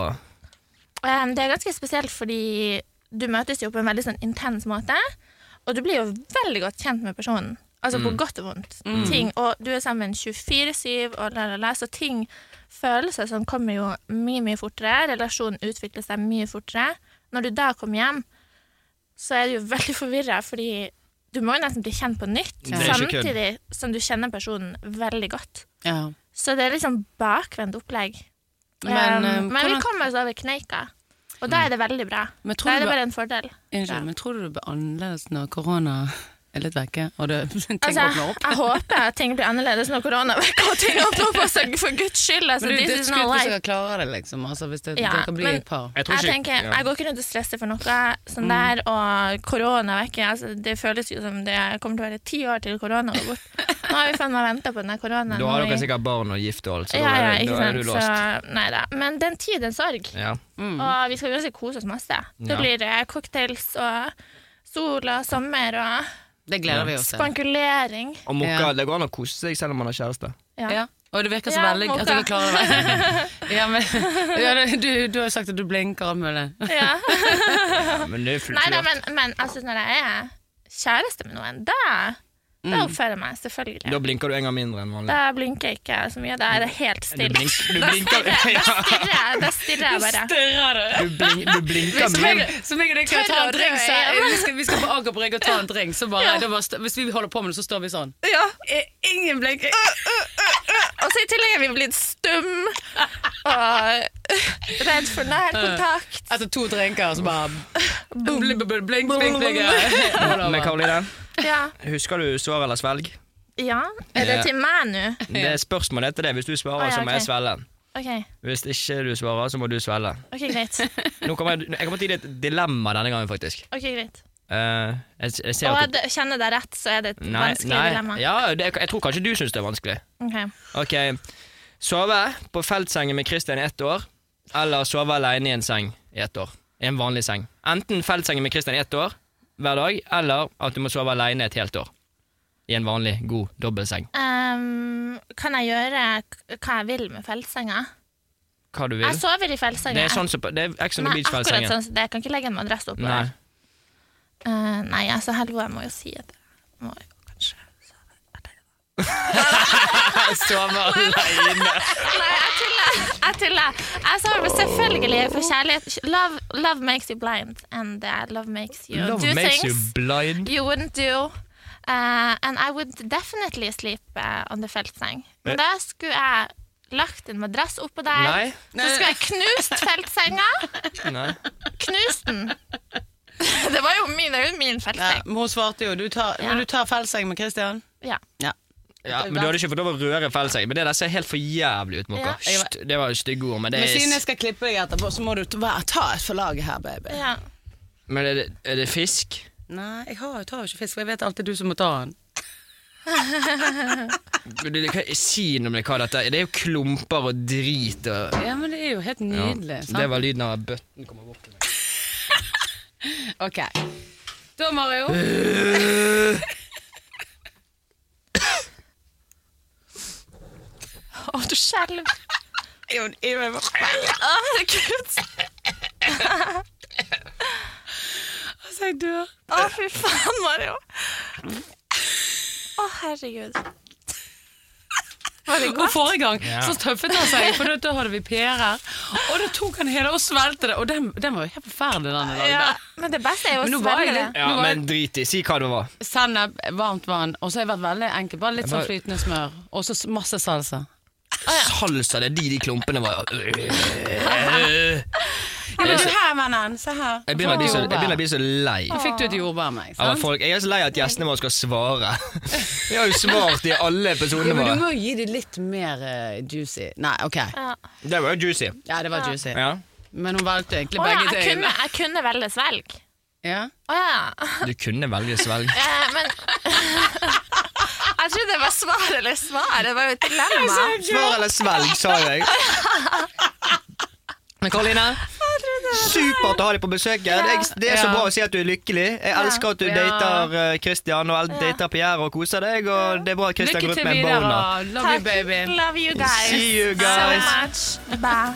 Speaker 4: Ehm, det er ganske spesielt fordi du møtes jo på en veldig sånn intens måte, og du blir jo veldig godt kjent med personen. Altså
Speaker 3: Mm.
Speaker 4: på godt og vondt. Ting, og du er sammen 24-7, og la, la, la, så ting, følelser som kommer jo mye, mye fortere. Relasjonen utvikler seg mye fortere. Når du da kommer hjem, så er du jo veldig forvirra, fordi du må jo nesten bli kjent på nytt,
Speaker 3: Det er ikke kødd.
Speaker 4: samtidig som du kjenner personen veldig godt.
Speaker 2: Ja.
Speaker 4: Så det er liksom bakvendt opplegg.
Speaker 2: Men,
Speaker 4: Men,
Speaker 2: eh,
Speaker 4: men vi
Speaker 2: hvordan-
Speaker 4: kommer oss over kneika, og da er det veldig bra.
Speaker 2: Men tror du
Speaker 4: Da er det
Speaker 2: ba-
Speaker 4: bare en fordel.
Speaker 2: Unnskyld,
Speaker 4: Ja.
Speaker 2: men tror du det blir annerledes når korona er litt vekke, og det, ting
Speaker 4: Altså,
Speaker 2: åpner opp?
Speaker 4: jeg håper at ting blir annerledes når korona vekker og ting åpner opp for seg, for guds skyld. Altså,
Speaker 2: Men det er jo
Speaker 4: this is not
Speaker 2: dødskult hvis
Speaker 4: life.
Speaker 2: dere klarer det, liksom. Altså, hvis det,
Speaker 4: Ja,
Speaker 2: dere blir
Speaker 4: men-
Speaker 2: et par.
Speaker 3: Jeg
Speaker 4: Jeg tenker, jeg går ikke rundt og stresser for noe sånn der, og korona vekker altså, Det føles jo som det kommer til å være ti år til korona går bort. Nå har vi faen meg venta på den der koronaen.
Speaker 3: Da har
Speaker 4: Nå
Speaker 3: dere
Speaker 4: vi-
Speaker 3: sikkert barn og gift og alt, så
Speaker 4: ja,
Speaker 3: da,
Speaker 4: ja,
Speaker 3: er,
Speaker 4: ikke
Speaker 3: da er du
Speaker 4: sant.
Speaker 3: låst.
Speaker 4: Så, nei da. Men den tid, den sorg.
Speaker 3: Ja.
Speaker 4: Og vi skal uansett kose oss masse. Det
Speaker 3: Ja.
Speaker 4: blir eh, cocktails og sol og sommer og
Speaker 2: Det gleder vi oss til.
Speaker 4: spankulering.
Speaker 3: Og mokka,
Speaker 2: Ja.
Speaker 3: det går an å kose seg selv om man har kjæreste.
Speaker 2: Ja. Og det virker så
Speaker 4: Ja,
Speaker 2: veldig
Speaker 4: Moka.
Speaker 2: at dere klarer det. ja, men, ja, det- du, du har jo sagt at du blinker og alt mulig.
Speaker 4: Ja.
Speaker 3: Ja, men det er fullt
Speaker 4: Nei da,
Speaker 3: lov.
Speaker 4: men, men altså, når jeg er kjæreste med noen, da, da oppfører jeg meg selvfølgelig.
Speaker 3: Da blinker du en gang mindre enn vanlig.
Speaker 4: Da blinker jeg ikke så mye. Da er det helt
Speaker 3: Du
Speaker 4: stille.
Speaker 3: blinker, du blinker,
Speaker 4: Da
Speaker 3: ja.
Speaker 4: stirrer jeg, da stirrer jeg bare.
Speaker 2: Stirrer
Speaker 3: du blink, du blinker
Speaker 2: Som
Speaker 3: mer.
Speaker 2: jeg, som jeg og deg skal ta en
Speaker 4: Tørre
Speaker 2: drink, så
Speaker 4: røde
Speaker 2: vi skal, vi skal på Aker Brygge og ta en drink. Så bare, da bare, st- hvis vi holder på med det, så står vi sånn.
Speaker 4: Ja.
Speaker 2: Ingen blinker.
Speaker 4: Og så i tillegg er vi blitt stum og redd for nærkontakt.
Speaker 2: Etter Altså, to drinker, så bare blink, blink, blink, blink, blink. Hold
Speaker 3: Men
Speaker 2: over.
Speaker 3: Karoline,
Speaker 4: Ja.
Speaker 3: husker du svar eller svelg?
Speaker 4: ja. Er det
Speaker 3: Ja.
Speaker 4: til meg nå?
Speaker 3: Det er spørsmålet til det. Hvis du svarer,
Speaker 4: Å, ja,
Speaker 3: så må jeg
Speaker 4: ok.
Speaker 3: svelge.
Speaker 4: OK,
Speaker 3: Hvis ikke du svarer, så må du svelge.
Speaker 4: ok, greit.
Speaker 3: Nå kommer jeg, jeg kommer til et dilemma denne gangen, faktisk.
Speaker 4: Ok, greit.
Speaker 3: Eh, jeg, jeg ser
Speaker 4: Og
Speaker 3: at
Speaker 4: jeg d- kjenner deg rett, så er det et
Speaker 3: Nei,
Speaker 4: vanskelig
Speaker 3: nei.
Speaker 4: dilemma.
Speaker 3: Ja, det, jeg tror kanskje du syns det er vanskelig.
Speaker 4: Ok.
Speaker 3: Ok, Sove på feltsengen med Christian i ett år, eller sove alene i en seng i ett år. I en vanlig seng. Enten feltsengen med Christian i ett år hver dag, eller at du må sove alene et helt år. I en vanlig, god dobbeltseng.
Speaker 4: Ehm, kan jeg gjøre k- hva jeg vil med feltsenga?
Speaker 3: Hva du
Speaker 4: Jeg
Speaker 3: vil.
Speaker 4: sover i feltsenga.
Speaker 3: Det er sånn som Det er Ex on the
Speaker 4: Nei, akkurat
Speaker 3: Beach-feltsengen.
Speaker 4: sånn som det. Jeg kan ikke legge en madrass oppå
Speaker 3: Nei.
Speaker 4: der. Eh, nei, altså, hallo, jeg må jo si at jeg må jo kanskje
Speaker 3: Sove alene.
Speaker 4: Nei, jeg tuller! Jeg tuller. Jeg sover selvfølgelig for kjærlighet. Love, love makes you blind, and uh, love makes you
Speaker 3: Love
Speaker 4: do
Speaker 3: makes you
Speaker 4: things
Speaker 3: blind.
Speaker 4: you, wouldn't do. Eh, and I would definitely sleep eh, on the feltseng. Men da skulle jeg lagt en madrass oppå der.
Speaker 3: Nei.
Speaker 4: Så skulle jeg knust feltsenga.
Speaker 3: Nei.
Speaker 4: Knus den! Det var jo min, det er jo min
Speaker 2: Ja,
Speaker 4: feltseng.
Speaker 2: men hun svarte jo. Du tar,
Speaker 4: Ja.
Speaker 2: du tar feltseng med Christian.
Speaker 4: Ja.
Speaker 2: Ja.
Speaker 3: Ja, men du hadde ikke fått lov å røre feltsengen. Men det der ser helt for jævlig ut, Mokka.
Speaker 4: Ja.
Speaker 3: Hysj, Det var stygge ord, men det
Speaker 2: Men siden jeg
Speaker 3: er
Speaker 2: skal klippe deg etterpå, så må du ta, ta et for laget her, baby.
Speaker 4: ja.
Speaker 3: Men er det, er det fisk?
Speaker 2: Nei, jeg har, jeg tar jo ikke fisk, for jeg vet alltid du som må ta den.
Speaker 3: Men det- det kan- Si noe om det, hva dette er. Det er jo klumper og drit og
Speaker 2: Ja, men det er jo helt nydelig.
Speaker 3: Ja,
Speaker 2: sant?
Speaker 3: Det var lyden av at bøtten kommer bort til meg.
Speaker 2: Ok. Da, Mario.
Speaker 3: Øh.
Speaker 4: Å, du skjelver. Å, herregud.
Speaker 2: Altså, jeg dør.
Speaker 4: Å, fy faen, Mario. Å, herregud. Var det
Speaker 2: Og
Speaker 4: godt?
Speaker 2: forrige gang
Speaker 3: Ja.
Speaker 2: så tøffet han seg, for da- da hadde vi pærer. Og da tok han hele og svelgte det, og den, den var jo helt forferdelig. den dagen.
Speaker 4: Ja, men det beste er jo
Speaker 2: Men
Speaker 4: å
Speaker 2: nå var jeg
Speaker 4: svelge det.
Speaker 2: litt-
Speaker 3: Ja,
Speaker 2: Nå var-
Speaker 3: men drit i. Si hva det var.
Speaker 2: Sennep, varmt vann, og så har jeg vært veldig enkel. Bare litt
Speaker 3: Jeg
Speaker 2: sånn
Speaker 3: bare-
Speaker 2: flytende smør, og så s- masse salsa. Ah,
Speaker 3: Salsa, det er de de klumpene var.
Speaker 2: Ja, men du her, vennen, se her.
Speaker 3: Jeg begynner å bli så, jeg begynner å
Speaker 2: Jordbær.
Speaker 3: bli så lei.
Speaker 2: Nå fikk du et jordbær av meg.
Speaker 3: Av at
Speaker 2: Sant?
Speaker 3: folk, jeg er så lei at gjestene våre skal svare. Vi har jo svart i alle
Speaker 2: Ja,
Speaker 3: episodene
Speaker 2: men du
Speaker 3: våre.
Speaker 2: må jo gi dem litt mer eh, juicy. Nei, ok.
Speaker 4: Ja.
Speaker 3: Det var jo juicy.
Speaker 2: Ja, det var juicy.
Speaker 3: Ja.
Speaker 2: Men hun valgte egentlig
Speaker 4: Å ja,
Speaker 2: begge
Speaker 4: jeg kunne,
Speaker 2: tingene.
Speaker 4: jeg kunne velge svelg.
Speaker 2: Ja.
Speaker 4: Å ja.
Speaker 3: Du kunne velge svelg.
Speaker 4: Eh, men Jeg trodde det var svar eller svar. Det var jo et dilemma.
Speaker 3: Svar eller svelg, sa jeg. Men Karoline, supert å ha deg på besøk. her. Det er, det er så
Speaker 2: Ja.
Speaker 3: bra å si at du er lykkelig. Jeg elsker at du
Speaker 2: Ja.
Speaker 3: dater eh, Christian og el- dater Pierre og koser deg. Og det er bra at Christian
Speaker 2: Lykke
Speaker 3: går ut
Speaker 2: til
Speaker 3: med en
Speaker 2: videre.
Speaker 3: boner.
Speaker 2: og Love you, baby.
Speaker 4: Love you guys.
Speaker 3: See you
Speaker 4: So
Speaker 3: guys.
Speaker 4: much. Bye.